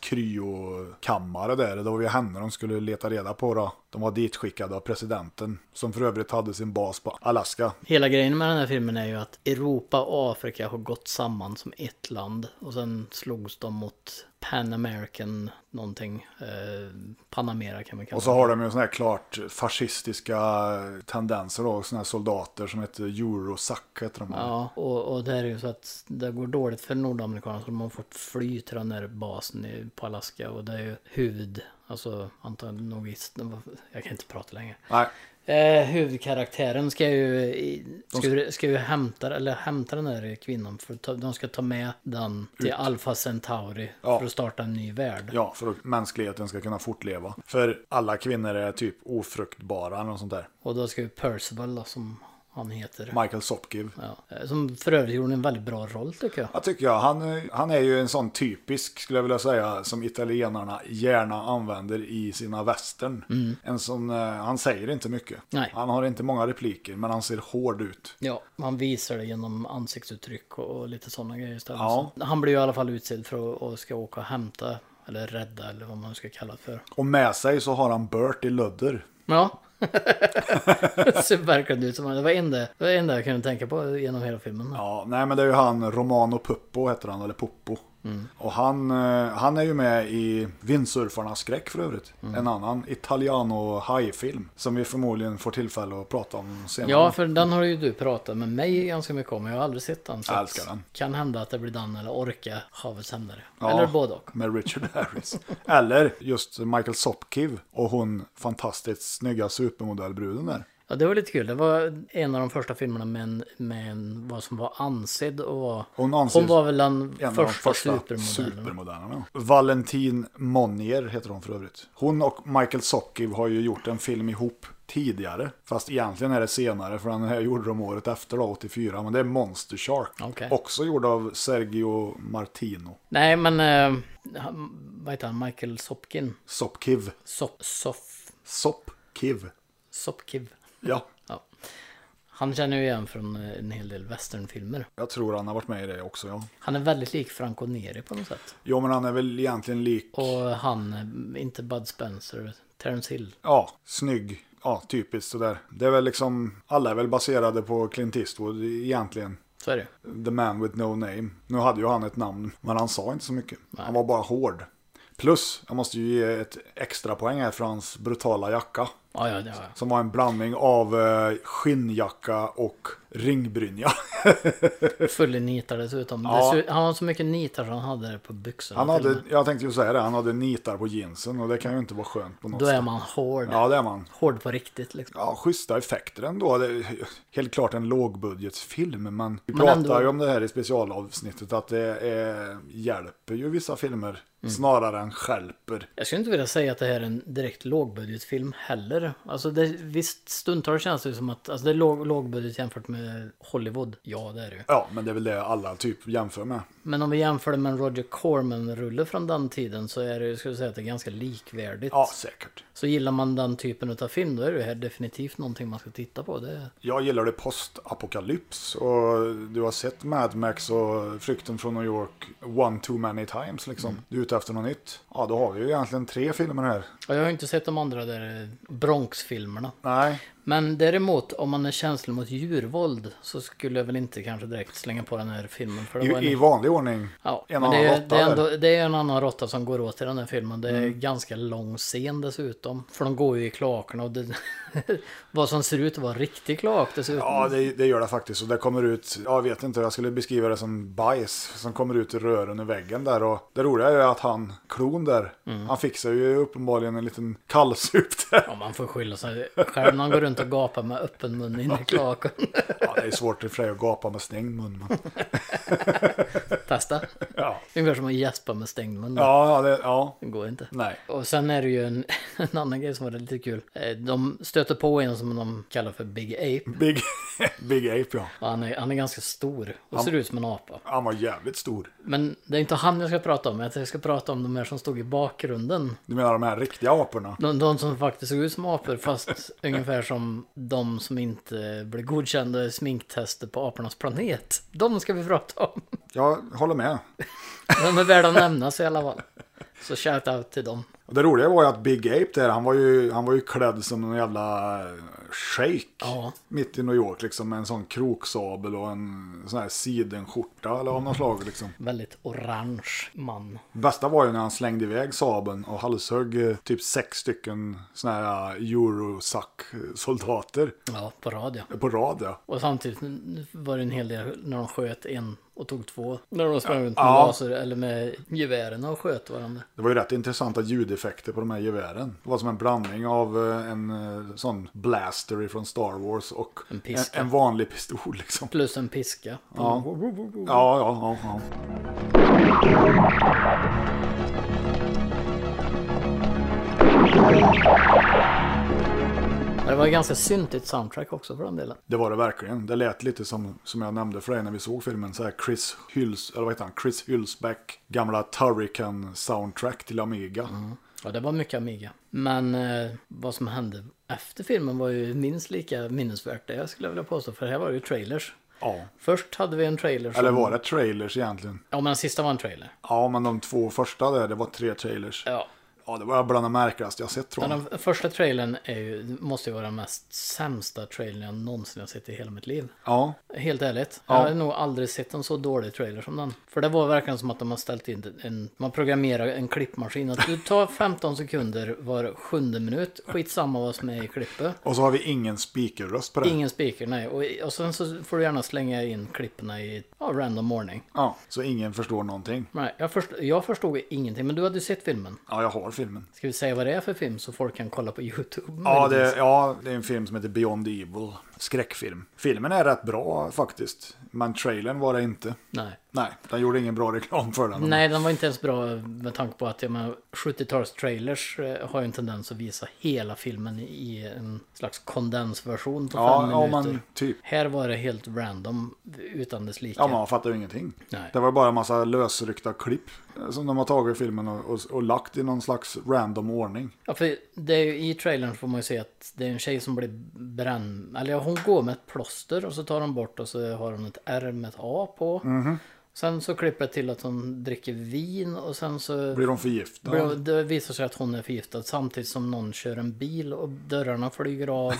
A: kryokammare där. Det var ju henne de skulle leta reda på då. De var ditskickade av presidenten. Som för övrigt hade sin bas på Alaska.
B: Hela grejen med den här filmen är ju att Europa och Afrika har gått samman som ett land och sen slogs de mot Pan American någonting. Eh, Panamera kan man kalla
A: Och så har de ju sådana här klart fascistiska tendenser då. Sådana här soldater som heter Eurosack heter de.
B: Ja, och, och det här är ju så att det går dåligt för nordamerikanerna så de har fått fly till den där basen i, på Alaska och det är ju huvud, alltså antagligen nogist, jag kan inte prata längre.
A: Nej,
B: Eh, huvudkaraktären ska ju, i- ska, ju- ska ju hämta, eller hämta den där kvinnan. För att ta, de ska ta med den till Alpha Centauri
A: Ja.
B: för att starta en ny värld.
A: ja, för att mänskligheten ska kunna fortleva. För alla kvinnor är typ ofruktbara eller något sånt där.
B: Och då ska ju Percival då, som han heter.
A: Michael Sopkiv.
B: Ja. Eh, Som för övrigt gjorde en väldigt bra roll tycker jag.
A: Ja, tycker jag. Han, eh, han är ju en sån typisk, skulle jag vilja säga, som italienarna gärna använder i sina western. En sån, eh, han säger inte mycket.
B: Mm. Nej.
A: Han har inte många repliker, men han ser hård ut.
B: Ja, man visar det genom ansiktsuttryck och och lite sådana grejer istället.
A: Ja.
B: Så Han blir ju i alla fall utsedd för att och ska åka och hämta, eller rädda eller vad man ska kalla det för.
A: Och med sig så har han Bert i lödder.
B: Ja. det ser verkligen ut som han. Det var det enda, det var det enda jag kunde tänka på genom hela filmen.
A: Ja, nej men det är ju han Romano Puppo heter han, eller Poppo.
B: Mm.
A: Och han, eh, han är ju med i Vindsurfarnas skräck för övrigt.
B: Mm.
A: En annan Italiano-hajfilm som vi förmodligen får tillfälle att prata om senare.
B: Ja, för den har ju du pratat med mig ganska mycket om. Jag har aldrig sett den. så
A: Jag
B: att-
A: älskar den.
B: Kan hända att det blir den eller Orka, Havets hämndare.
A: Ja,
B: Eller både och.
A: Med Richard Harris. Eller just Michael Sopkiv och hon fantastiskt snygga supermodellbruden där.
B: Ja, det var lite kul. Det var en av de första filmerna med, en, med en, vad som var ansedd och var...
A: Hon anses
B: var väl den
A: en
B: första,
A: av de första
B: supermodellen.
A: supermodellerna. Valentin Monnier heter hon för övrigt. Hon och Michael Sopkiv har ju gjort en film ihop tidigare. Fast egentligen är det senare, för den här gjorde de året efter då, 84. Men det är Monster Shark.
B: Okej.
A: Också gjord av Sergio Martino.
B: Nej, men... Eh, han, vad heter han? Michael Sopkin?
A: Sopkiv.
B: Sop, sof,
A: Sopkiv.
B: Sopkiv.
A: Ja,
B: Ja. Han känner ju igen från eh, en hel del westernfilmer.
A: jag tror han har varit med i det också. Ja,
B: Han är väldigt lik Franco Neri på något sätt.
A: jo, men han är väl egentligen lik
B: Och han, eh, inte Bud Spencer, Terence Hill.
A: Ja, snygg. Ja, typiskt sådär. Det är väl liksom, alla är väl baserade på Clint Eastwood egentligen.
B: Så är det
A: The man with no name. Nu hade ju han ett namn, men han sa inte så mycket. Han var bara hård. Plus, jag måste ju ge ett extra poäng här för hans brutala jacka.
B: Ja, ja, det har jag.
A: Som var en blandning av eh, skinnjacka och ringbrynja.
B: Full i nitar dessutom.
A: Ja.
B: Dessu- han har så mycket nitar som han hade på byxorna.
A: Han
B: till och
A: hade,
B: med.
A: jag tänkte ju säga det, han hade nitar på jeansen och det kan ju inte vara skönt på något
B: Då är
A: sätt.
B: man hård.
A: Ja, det är man.
B: Hård på riktigt liksom.
A: ja, schyssta effekter ändå. Det är helt klart en lågbudgetfilm, men vi
B: Men
A: pratar
B: ändå-
A: ju om det här i specialavsnittet, att det är, hjälper ju vissa filmer snarare än stjälper.
B: Jag skulle inte vilja säga att det här är en direkt lågbudgetfilm heller. Alltså det, visst, stundtals känns det ju som att alltså det är låg, lågbudget jämfört med Hollywood. Ja, det är det ju.
A: Ja, men det är väl det alla typ jämför med.
B: Men om vi jämför det med en Roger Corman-rulle från den tiden så är det, jag skulle säga att det är ganska likvärdigt.
A: Ja, säkert.
B: Så gillar man den typen av film då är det här definitivt någonting man ska titta på. Det,
A: Jag gillar det postapokalyps och du har sett Mad Max och Flykten från New York one too many times liksom. Du är ute efter något nytt. Ja, då har vi ju egentligen tre filmer här.
B: Ja, jag har ju inte sett de andra där eh, Bronx-filmerna.
A: Nej,
B: Men däremot om man är känslig mot djurvåld så skulle jag väl inte kanske direkt slänga på den här filmen. För det var en...
A: i, i vanlig ordning.
B: Ja,
A: en
B: men det,
A: annan
B: är-
A: råtta
B: det, är
A: där. Mm.
B: ändå, det är en annan råtta som går åt i den här filmen. Det är ganska lång scen dessutom. För de går ju i kloakerna och det, vad som ser ut att vara riktig kloak dessutom.
A: Ja, det, det gör det faktiskt. Och det kommer ut, jag vet inte, jag skulle beskriva det som bajs som kommer ut i rören i väggen där. Och det roliga är att han, klon där, han fixar ju uppenbarligen en liten kallsup där.
B: Ja, man får skylla sig själv när han går runt och gapar med öppen mun in i kloaken.
A: Ja, det är svårt i och för sig att gapa med stängd mun. Men...
B: Testa.
A: Ja,
B: Ungefär som att gäspa med stängd mun.
A: ja, ja, det, ja.
B: Det går inte.
A: nej.
B: Och sen är det ju en, en annan grej som var lite kul. Eh, De stöter på en som de kallar för Big Ape.
A: Big, Big Ape ja.
B: Och han, är, han är ganska stor och ser ut som en apa.
A: Han var jävligt stor.
B: Men det är inte han jag ska prata om. Jag ska prata om de här som stod i bakgrunden.
A: Du menar de här riktiga aporna?
B: De, de som faktiskt såg ut som apor fast ungefär som de som inte blev godkända i sminktester på apornas planet. De ska vi prata om.
A: Jag håller med.
B: De är värda att nämnas i alla fall. Så shout out till dem.
A: Och det roliga var ju att Big Ape där, han var ju, han var ju klädd som någon jävla eh, shejk.
B: Ja.
A: Mitt i New York liksom med en sån kroksabel och en sån här sidenskjorta eller av något slag liksom.
B: Väldigt orange man.
A: Bästa var ju när han slängde iväg sabeln och halshögg eh, typ sex stycken såna här eh, eurosack-soldater
B: Ja, på radio.
A: på rad ja.
B: Och samtidigt var det en hel del när de sköt en och tog två. När de sprang runt med
A: Ja.
B: laser eller med gevären och sköt varandra.
A: Det var ju rätt intressanta ljudeffekter på de här gevären. Det var som en blandning av eh, en eh, sån blaster ifrån Star Wars och en, en,
B: piska.
A: vanlig pistol liksom.
B: Plus en piska.
A: Ja, ja, ja. ja, ja.
B: Men det var ju ganska syntigt soundtrack också för den delen.
A: Det var det verkligen. Det lät lite som, som jag nämnde för dig när vi såg filmen. Så här Chris, Hyls, eller vad heter han? Chris Hylsback gamla Turrican soundtrack till Amiga.
B: Ja, det var mycket Amiga. Men eh, vad som hände efter filmen var ju minst lika minnesvärt det jag skulle vilja påstå. För här var det ju trailers.
A: Ja.
B: Först hade vi en trailer som...
A: Eller var det trailers egentligen?
B: Ja, men den sista var en trailer.
A: Ja, men de två första där, det var tre trailers.
B: Ja.
A: Ja, det var bland det märkligaste jag sett tror
B: Men
A: jag.
B: den första trailern är ju, måste ju vara den mest sämsta trailern jag någonsin har sett i hela mitt liv.
A: Ja,
B: Helt ärligt.
A: Ja.
B: Jag har nog aldrig sett en så dålig trailer som den. För det var verkligen som att de har ställt in en... Man programmerar en klippmaskin. Att du tar 15 sekunder var sjunde minut. Skitsamma vad som är i klippet.
A: och så har vi ingen speakerröst på det.
B: Ingen speaker, nej. Och, och sen så får du gärna slänga in klippen i ja, random ordning.
A: Ja, så ingen förstår någonting.
B: Nej, jag, först, jag förstod ingenting, men du hade ju sett filmen.
A: Ja, jag har filmen.
B: Ska vi säga vad det är för film så folk kan kolla på YouTube?
A: Ja
B: möjligtvis?
A: det, ja, det är en film som heter Beyond Evil. Skräckfilm. Filmen är rätt bra faktiskt. Men trailern var det inte.
B: Nej.
A: Nej, den gjorde ingen bra reklam för den.
B: Nej, den var inte ens bra med tanke på att jag menar, 70-tals-trailers eh, har ju en tendens att visa hela filmen i en slags kondensversion på fem
A: ja, ja,
B: minuter.
A: man typ.
B: Här var det helt random utan dess like.
A: Ja, man fattar ju ingenting.
B: Nej.
A: Det var bara en massa lösryckta klipp eh, som de har tagit i filmen och, och, och lagt i någon slags random ordning.
B: Ja, för det är ju, i trailern får man ju se att det är en tjej som blir bränn... Eller ja, hon går med ett plåster och så tar hon bort och så har hon ett R med ett A på.
A: Mhm.
B: Sen så klipper det till att hon dricker vin och sen så...
A: Blir de förgiftade?
B: blir- Det visar sig att hon är förgiftad samtidigt som någon kör en bil och dörrarna flyger av.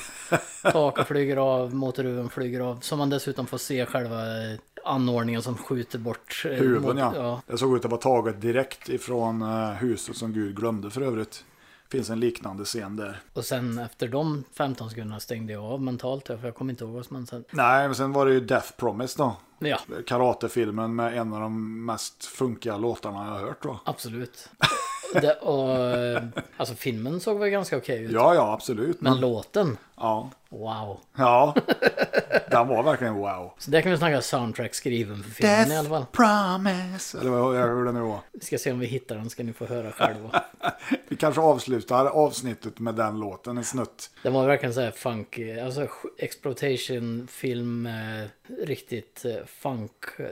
B: Taket flyger av, motorhuven flyger av. Som man dessutom får se själva eh, anordningen som skjuter bort... eh,
A: Huvuden
B: mot-
A: ja. Det såg ut att vara taget direkt ifrån eh, huset som Gud glömde för övrigt. Finns en liknande scen där.
B: Och sen efter de 15 sekunderna stängde jag av mentalt ja, för jag kommer inte ihåg vad som hände sen.
A: Nej, men sen var det ju Death Promise då.
B: Ja,
A: karatefilmen med en av de mest funkiga låtarna jag har hört då.
B: absolut. Det, och, eh, alltså filmen såg väl ganska okej ut.
A: Ja, ja, absolut.
B: Men
A: Men,
B: låten,
A: ja,
B: wow.
A: ja. Den var verkligen wow.
B: Så där kan vi snacka soundtrack skriven för filmen i alla fall.
A: Death promise. Eller vad- hur det nu var.
B: Vi ska se om vi hittar den ska ni få höra själva.
A: Vi kanske avslutar avsnittet med den låten, en snutt.
B: Den var verkligen så här funk, eh, alltså sj- exploitation film, eh, riktigt eh, funk. eh,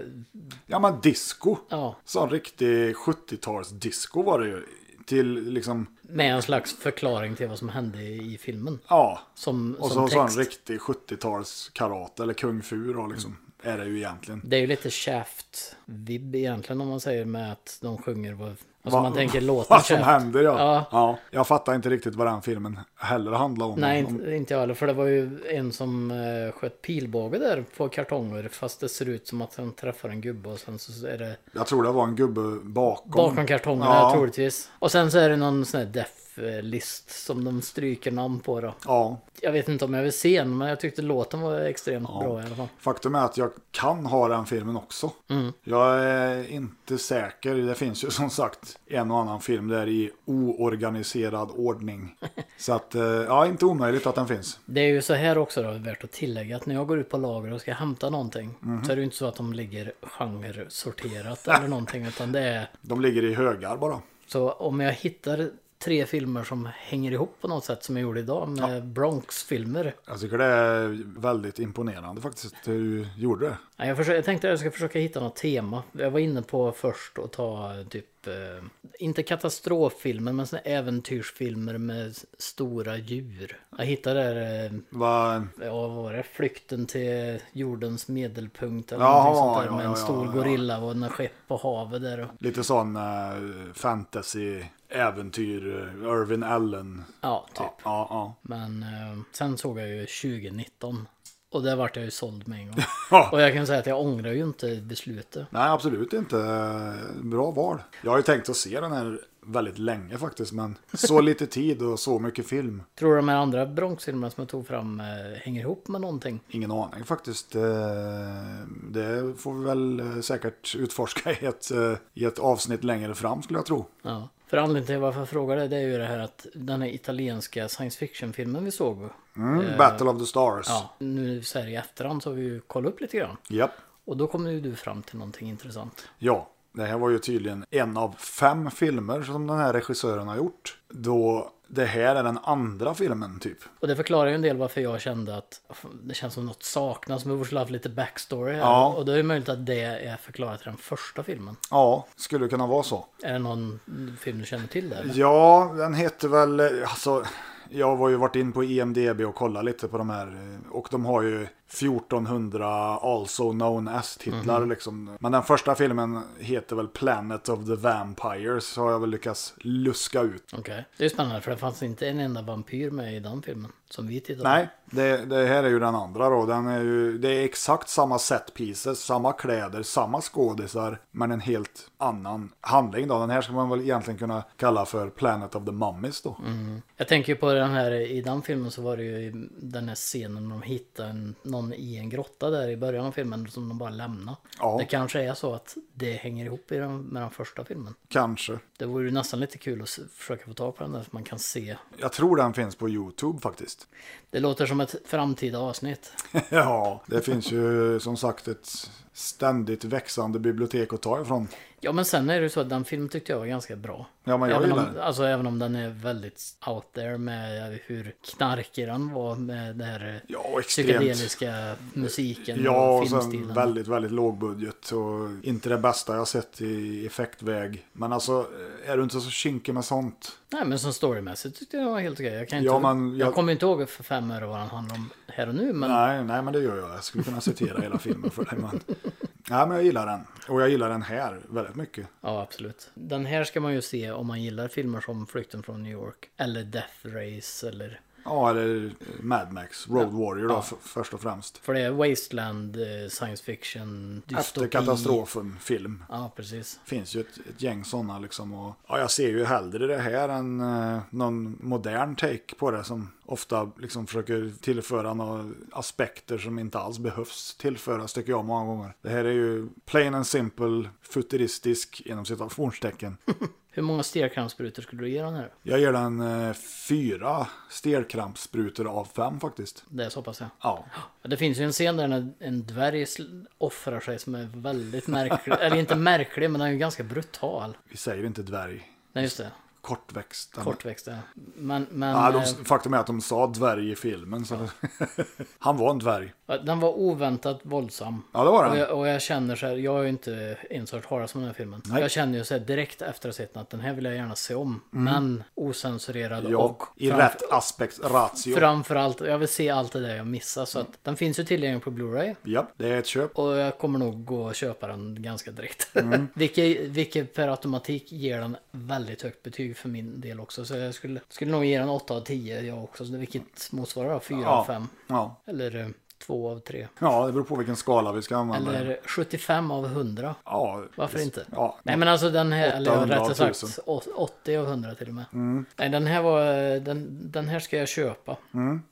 A: Ja, men disco.
B: Ja,
A: Sån riktig 70-tals-disco var det ju. Till liksom,
B: med en slags förklaring till vad som hände i filmen.
A: ja.
B: Som,
A: Och
B: som
A: så sån
B: text.
A: riktig 70-tals-karate eller kung-fu då liksom. Är det ju egentligen.
B: Det är ju lite Shaft-vibb egentligen om man säger med att de sjunger vad... Alltså
A: Va-
B: man tänker låten
A: Vad som
B: Shaft.
A: händer ja.
B: Ja.
A: ja. Jag fattar inte riktigt vad den filmen heller handlar om.
B: Nej,
A: Om-
B: inte, inte jag heller. För det var ju en som eh, sköt pilbåge där på kartonger. Fast det ser ut som att han träffar en gubbe och sen så är det
A: Jag tror det var en gubbe bakom.
B: bakom kartongerna
A: Ja.
B: troligtvis. Och sen så är det någon sån här deaf-list som de stryker namn på då.
A: Ja.
B: Jag vet inte om jag vill se den, men jag tyckte låten var extremt bra i alla fall.
A: Faktum är att jag kan ha den filmen också. Jag är inte säker. Det finns ju som sagt en och annan film där i oorganiserad ordning. Så att, eh, ja, inte omöjligt att den finns.
B: Det är ju så här också då, värt att tillägga att när jag går ut på lager och ska hämta någonting
A: Mhm.
B: så är det ju inte så att de ligger genre-sorterat eller någonting utan det är
A: De ligger i högar bara.
B: så om jag hittar tre filmer som hänger ihop på något sätt som jag gjorde idag med Bronx-filmer.
A: Jag tycker det är väldigt imponerande faktiskt att du gjorde det.
B: Nej, Jag, försöker, jag tänkte att jag ska försöka hitta något tema. Jag var inne på först att ta eh, typ, eh, inte katastroffilmer men såna äventyrsfilmer med s- stora djur. Jag hittade eh,
A: Va,
B: Ja, vad var det? Flykten till jordens medelpunkt eller
A: Jaha,
B: någonting sånt där.
A: ja,
B: med en
A: ja,
B: stor
A: ja.
B: gorilla och en skepp på havet där. och-
A: lite sån eh, fantasy, äventyr, eh, Irvin Allen.
B: Ja, typ.
A: Ja, ja.
B: Men eh, sen såg jag ju 2019. Och där vart jag ju såld med en gång.
A: Ja.
B: och jag kan säga att jag ångrar ju inte beslutet.
A: Nej, absolut inte. Bra val. Jag har ju tänkt att se den här väldigt länge faktiskt, men så lite tid och så mycket film.
B: Tror du de här andra Bronxfilmerna som jag tog fram eh, hänger ihop med någonting?
A: Ingen aning faktiskt. Eh, Det får vi väl eh, säkert utforska i ett, eh, i ett avsnitt längre fram skulle jag tro.
B: Ja. För anledningen till varför jag frågar det, det är ju det här att den här italienska science fiction-filmen vi såg.
A: Mm, Battle of the Stars.
B: Ja, nu så här i efterhand så har vi ju kollat upp lite grann.
A: Japp.
B: Och då kommer ju du fram till någonting intressant.
A: Ja, Det här var ju tydligen en av fem filmer som den här regissören har gjort. Då det här är den andra filmen typ.
B: Och det förklarar ju en del varför jag kände att det känns som något saknas. Men vi borde ha haft lite backstory här.
A: Ja.
B: Och då är det möjligt att det är förklarat till den första filmen.
A: Ja, skulle kunna vara så.
B: Är det någon film du känner till där?
A: Mm.
B: eller?
A: Ja, den heter väl, alltså, jag har ju varit in på E IMDB och kollat lite på de här. eh, Och de har ju 1400 also known as-titlar liksom. Men den första filmen heter väl Planet of the Vampires, har jag väl lyckats luska ut.
B: Okej. Det är ju spännande för det fanns inte en enda vampyr med i den filmen. Som vi tittade på.
A: Nej, det, det här är ju den andra då. Den är ju, det är exakt samma set pieces, samma kläder, samma skådisar, men en helt annan handling då. Den här ska man väl egentligen kunna kalla för Planet of the Mummies då.
B: Jag tänker ju på den här, i den filmen så var det ju i den här scenen när de hittar en, någon i en grotta där i början av filmen som de bara lämnar.
A: Ja.
B: Det kanske är så att det hänger ihop i den, med den första filmen.
A: Kanske.
B: Det vore ju nästan lite kul att se- försöka få tag på den där så man kan se.
A: Jag tror den finns på YouTube faktiskt.
B: Det låter som ett framtida avsnitt.
A: ja, det finns ju som sagt ett ständigt växande bibliotek att ta ifrån.
B: Ja men sen är det ju så att den filmen tyckte jag var ganska bra.
A: Ja, men jag
B: även,
A: gillar
B: om,
A: den.
B: alltså, även om den är väldigt out there med hur knarkig den var med det här eh,
A: Ja, och extremt.
B: psykedeliska musiken
A: Ja,
B: och
A: och
B: filmstilen.
A: sen väldigt, väldigt låg budget och inte det bästa jag sett i effektväg. Men alltså, är du inte så kinkig med sånt?
B: Nej men som storymässigt tyckte jag den var helt okej. Jag, kan inte,
A: Ja, men
B: jag...
A: jag-
B: kommer inte ihåg för fem öre vad den handlar om här och nu. Men
A: Nej, nej, men det gör jag. Jag skulle kunna citera hela filmen för dig. Men... Nej, men jag gillar den. Och jag gillar den här väldigt mycket.
B: ja absolut. Den här ska man ju se om man gillar filmer som Flykten från New York. Eller Death Race eller
A: Ja, eller Mad Max, Road Warrior då, f- först och främst.
B: För det är Wasteland, eh, science fiction, dystopi.
A: Efter katastrofen-film.
B: Ja, precis.
A: finns ju ett, ett gäng sådana liksom. Och, ja, jag ser ju hellre det här än eh, någon modern take på det som ofta liksom försöker tillföra några aspekter som inte alls behövs tillföras tycker jag många gånger. Det här är ju plain and simple, futuristisk inom citationstecken.
B: Hur många stelkrampssprutor skulle du ge den här?
A: Jag ger den eh, fyra stelkrampssprutor av fem faktiskt.
B: Det är så pass ja.
A: Ja,
B: Det finns ju en scen där när en dvärg sl- offrar sig som är väldigt märklig. Eller inte märklig, men den är ju ganska brutal.
A: vi säger inte dvärg.
B: Nej, just det.
A: Kortväxt.
B: Kortväxt, ja. Men, men
A: Ja, de,
B: eh,
A: faktum är att de sa dvärg i filmen. Så. Han var en dvärg.
B: eh, den var oväntat våldsam.
A: Ja, det var han.
B: Och jag, och jag känner så här, jag har ju inte ens hört talas om den här filmen.
A: Nej.
B: Jag känner ju så här direkt efter att ha sett den att den här vill jag gärna se om. Men osensurerad och
A: Ja, i
B: framför-
A: Mm. rätt aspekt, ratio.
B: Framförallt, jag vill se allt det där jag missar. Så att den finns ju tillgänglig på Blu-ray.
A: Ja, det är ett köp.
B: Och jag kommer nog gå och köpa den ganska direkt.
A: Mm.
B: vilket, vilket per automatik ger den väldigt högt betyg för min del också. Så jag skulle, skulle nog ge den 8 av 10 jag också. så Vilket motsvarar 4 av 5.
A: Ja.
B: Eller eh, 2 av 3.
A: ja, det beror på vilken skala vi ska använda.
B: Eller 75 av 100.
A: Ja,
B: Varför
A: precis.
B: inte?
A: Ja.
B: Nej men alltså den här, eller
A: 800 av Mm.
B: rättare sagt
A: 1000.
B: å- 80 av 100 till och med. Nej den här var, den, den här ska jag köpa.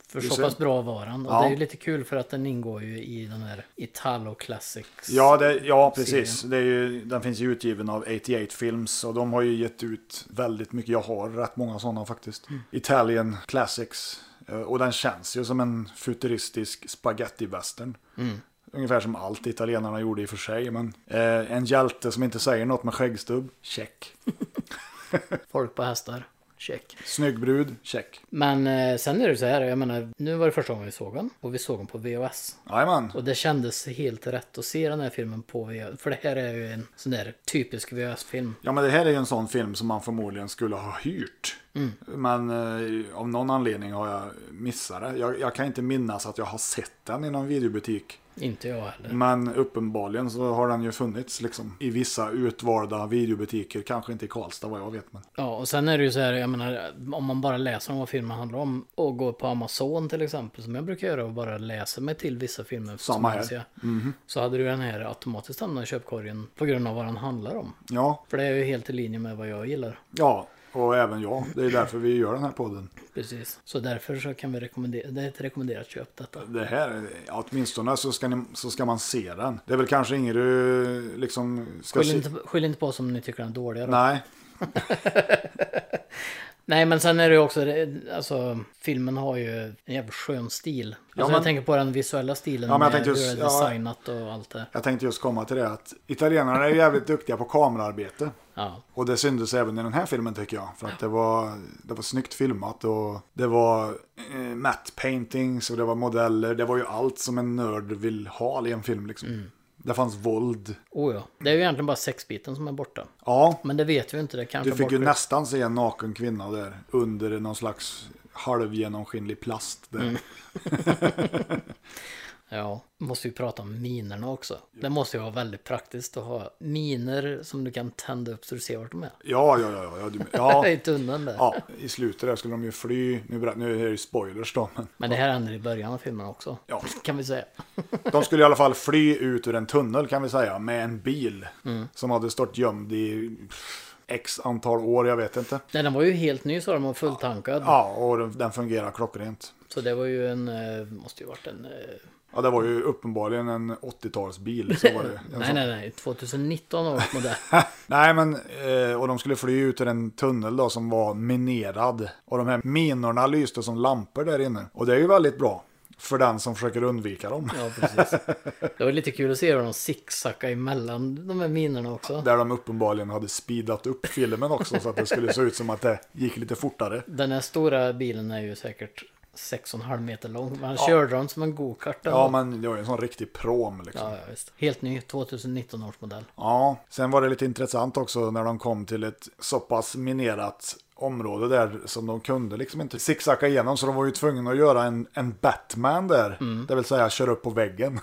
B: För så
A: Mm. ser.
B: pass bra var den. Och
A: Ja.
B: det är ju lite kul för att den ingår ju i den här Italo Classics.
A: Ja, det, ja precis. Det är ju, den finns ju utgiven av 88 Films och de har ju gett ut väldigt mycket. Jag har rätt många sådana faktiskt.
B: Mm.
A: Italian Classics. Eh, Och den känns ju som en futuristisk spaghetti-western.
B: Mm.
A: Ungefär som allt italienarna gjorde i och för sig. Men eh, en hjälte som inte säger något med skäggstubb, check.
B: Folk på hästar. Check.
A: Snygg brud, check.
B: Men eh, sen är det så här, jag menar, nu var det första gången vi såg den. Och vi såg den på VHS.
A: Jajamän.
B: Och det kändes helt rätt att se den här filmen på VHS. För det här är ju en sån där typisk VHS-film.
A: Ja men det här är ju en sån film som man förmodligen skulle ha hyrt. Men eh, av någon anledning har jag missat det. Jag, jag kan inte minnas att jag har sett den i någon videobutik.
B: Inte jag heller.
A: Men uppenbarligen så har den ju funnits liksom i vissa utvalda videobutiker. Kanske inte i Karlstad vad jag vet. Men...
B: Ja, och sen är det ju så här, jag menar, om man bara läser om vad filmen handlar om och går på Amazon till exempel, som jag brukar göra och bara läser mig till vissa filmer. som
A: Samma
B: jag
A: här. Mhm.
B: ser, Så hade du den här automatiskt hamnat i köpkorgen på grund av vad den handlar om.
A: Ja,
B: För det är ju helt i linje med vad jag gillar.
A: ja, och även jag. Det är därför vi gör den här podden.
B: Precis. Så därför så kan vi rekommendera, det är ett rekommenderat köp detta.
A: Det här, ja, åtminstone så ska, ni, så ska man se den. Det är väl kanske inget du liksom ska
B: Skyll
A: se-
B: inte, skyll inte på oss om ni tycker den är dålig. då.
A: Nej,
B: Nej, men sen är det ju också, alltså filmen har ju en jävligt skön stil. Alltså,
A: men-
B: Jag tänker på den visuella stilen
A: Ja, men jag
B: med
A: tänkte
B: hur
A: just-
B: det är
A: ja.
B: designat och allt det.
A: Jag tänkte just komma till det att italienarna är ju jävligt duktiga på kamerarbete.
B: Ja.
A: Och det syntes även i den här filmen tycker jag. För att det var, det var snyggt filmat och det var eh, matte paintings och det var modeller. Det var ju allt som en nörd vill ha i en film liksom.
B: Mm.
A: Det fanns våld.
B: Oh, ja. Det är ju egentligen bara sexbiten som är borta.
A: Ja,
B: Men det vet vi ju inte. Det kanske
A: du fick ju
B: borta-
A: nästan se en naken kvinna där under någon slags halvgenomskinlig plast. Där.
B: Mm. Ja, måste vi prata om minerna också. Det måste ju vara väldigt praktiskt att ha miner som du kan tända upp så du ser vart de är.
A: Ja, ja, ja. ja, ja, du, ja.
B: I tunneln där.
A: ja. I slutet där skulle de ju fly. Nu, ber- nu är det ju spoilers då. Men
B: Men det här händer i början av filmen också.
A: Ja.
B: Kan vi säga.
A: De skulle i alla fall fly ut ur en tunnel kan vi säga med en bil som hade stått gömd i pff, x antal år, jag vet inte.
B: Nej, den var ju helt ny sa de och fulltankad.
A: Ja, och den, den fungerar klockrent.
B: Så det var ju en, eh, måste ju varit en... eh,
A: Ja, det var ju uppenbarligen en 80-talsbil. så var det. En
B: Nej,
A: sån-
B: nej, nej. 2019 års modell.
A: nej, men eh, och de skulle fly ut ur en tunnel då som var minerad. Och de här minorna lyste som lampor där inne. Och det är ju väldigt bra för den som försöker undvika dem.
B: Ja, precis. Det var lite kul att se hur de zigzackade emellan de här minerna också.
A: Där de uppenbarligen hade speedat upp filmen också så att det skulle se ut som att det gick lite fortare.
B: Den här stora bilen är ju säkert 6,5 meter lång. Man körde den som en go-kart.
A: Ja, men det var ju en sån riktig prom liksom.
B: Ja, ja, visst. Helt ny, 2019 års modell.
A: Ja, sen var det lite intressant också när de kom till ett så pass minerat område där som de kunde liksom inte zigzacka igenom så de var ju tvungna att göra en, en Batman där. Det vill säga köra upp på väggen.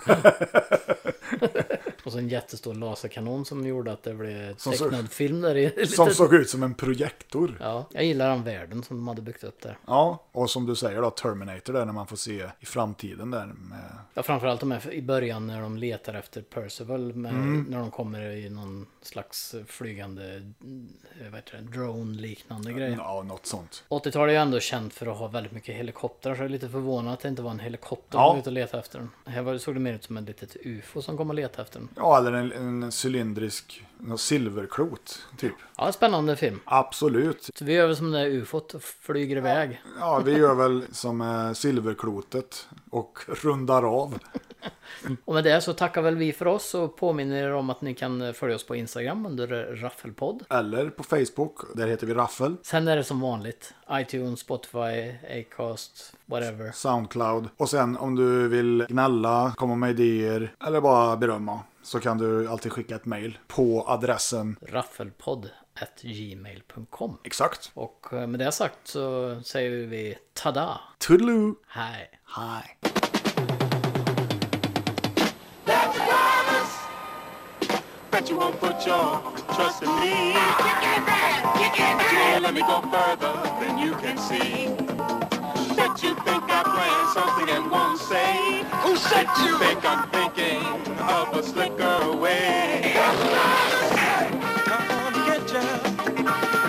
B: Och så en jättestor laserkanon som gjorde att det blev
A: Som så-
B: tecknad film där i.
A: som såg ut som en projektor.
B: Ja, jag gillar den världen som de hade byggt upp där.
A: Ja, och som du säger då Terminator där när man får se i framtiden där. Med...
B: Ja, framförallt de här i början när de letar efter Percival. Med,
A: Mm.
B: När de kommer i någon slags flygande, eh, vad heter det, drone-liknande grej.
A: Ja, något sånt.
B: 80-talet är ju ändå känt för att ha väldigt mycket helikoptrar så jag är lite förvånad att det inte var en helikopter
A: Ja.
B: som var ute och letade efter den. Här var- såg det mer ut som ett litet ufo som kom och letade efter den.
A: Ja, eller en, en cylindrisk någon silverklot typ.
B: Ja, spännande film.
A: Absolut.
B: Så vi gör väl som det där ufot och flyger iväg.
A: Ja, vi gör väl som eh, silverklotet och rundar av.
B: Och med det så tackar väl vi för oss och påminner er om att ni kan eh, följa oss på Instagram under Raffelpodd.
A: Eller på Facebook, där heter vi Raffel.
B: Sen är det som vanligt iTunes, Spotify, Acast, whatever.
A: Soundcloud. Och sen om du vill gnälla, komma med idéer eller bara berömma så kan du alltid skicka ett mejl på adressen
B: Raffelpodd at gmail.com.
A: exakt.
B: Och eh, med det sagt så säger vi tada!
A: Toodaloo!
B: Hej!
A: Hi.
E: That's a promise. Bet you won't put your trust in me. But you won't let me go further than you can see. Bet you think I plan something and won't say. Who said you? Think I'm thinking of a slicker way. Come on, get ya.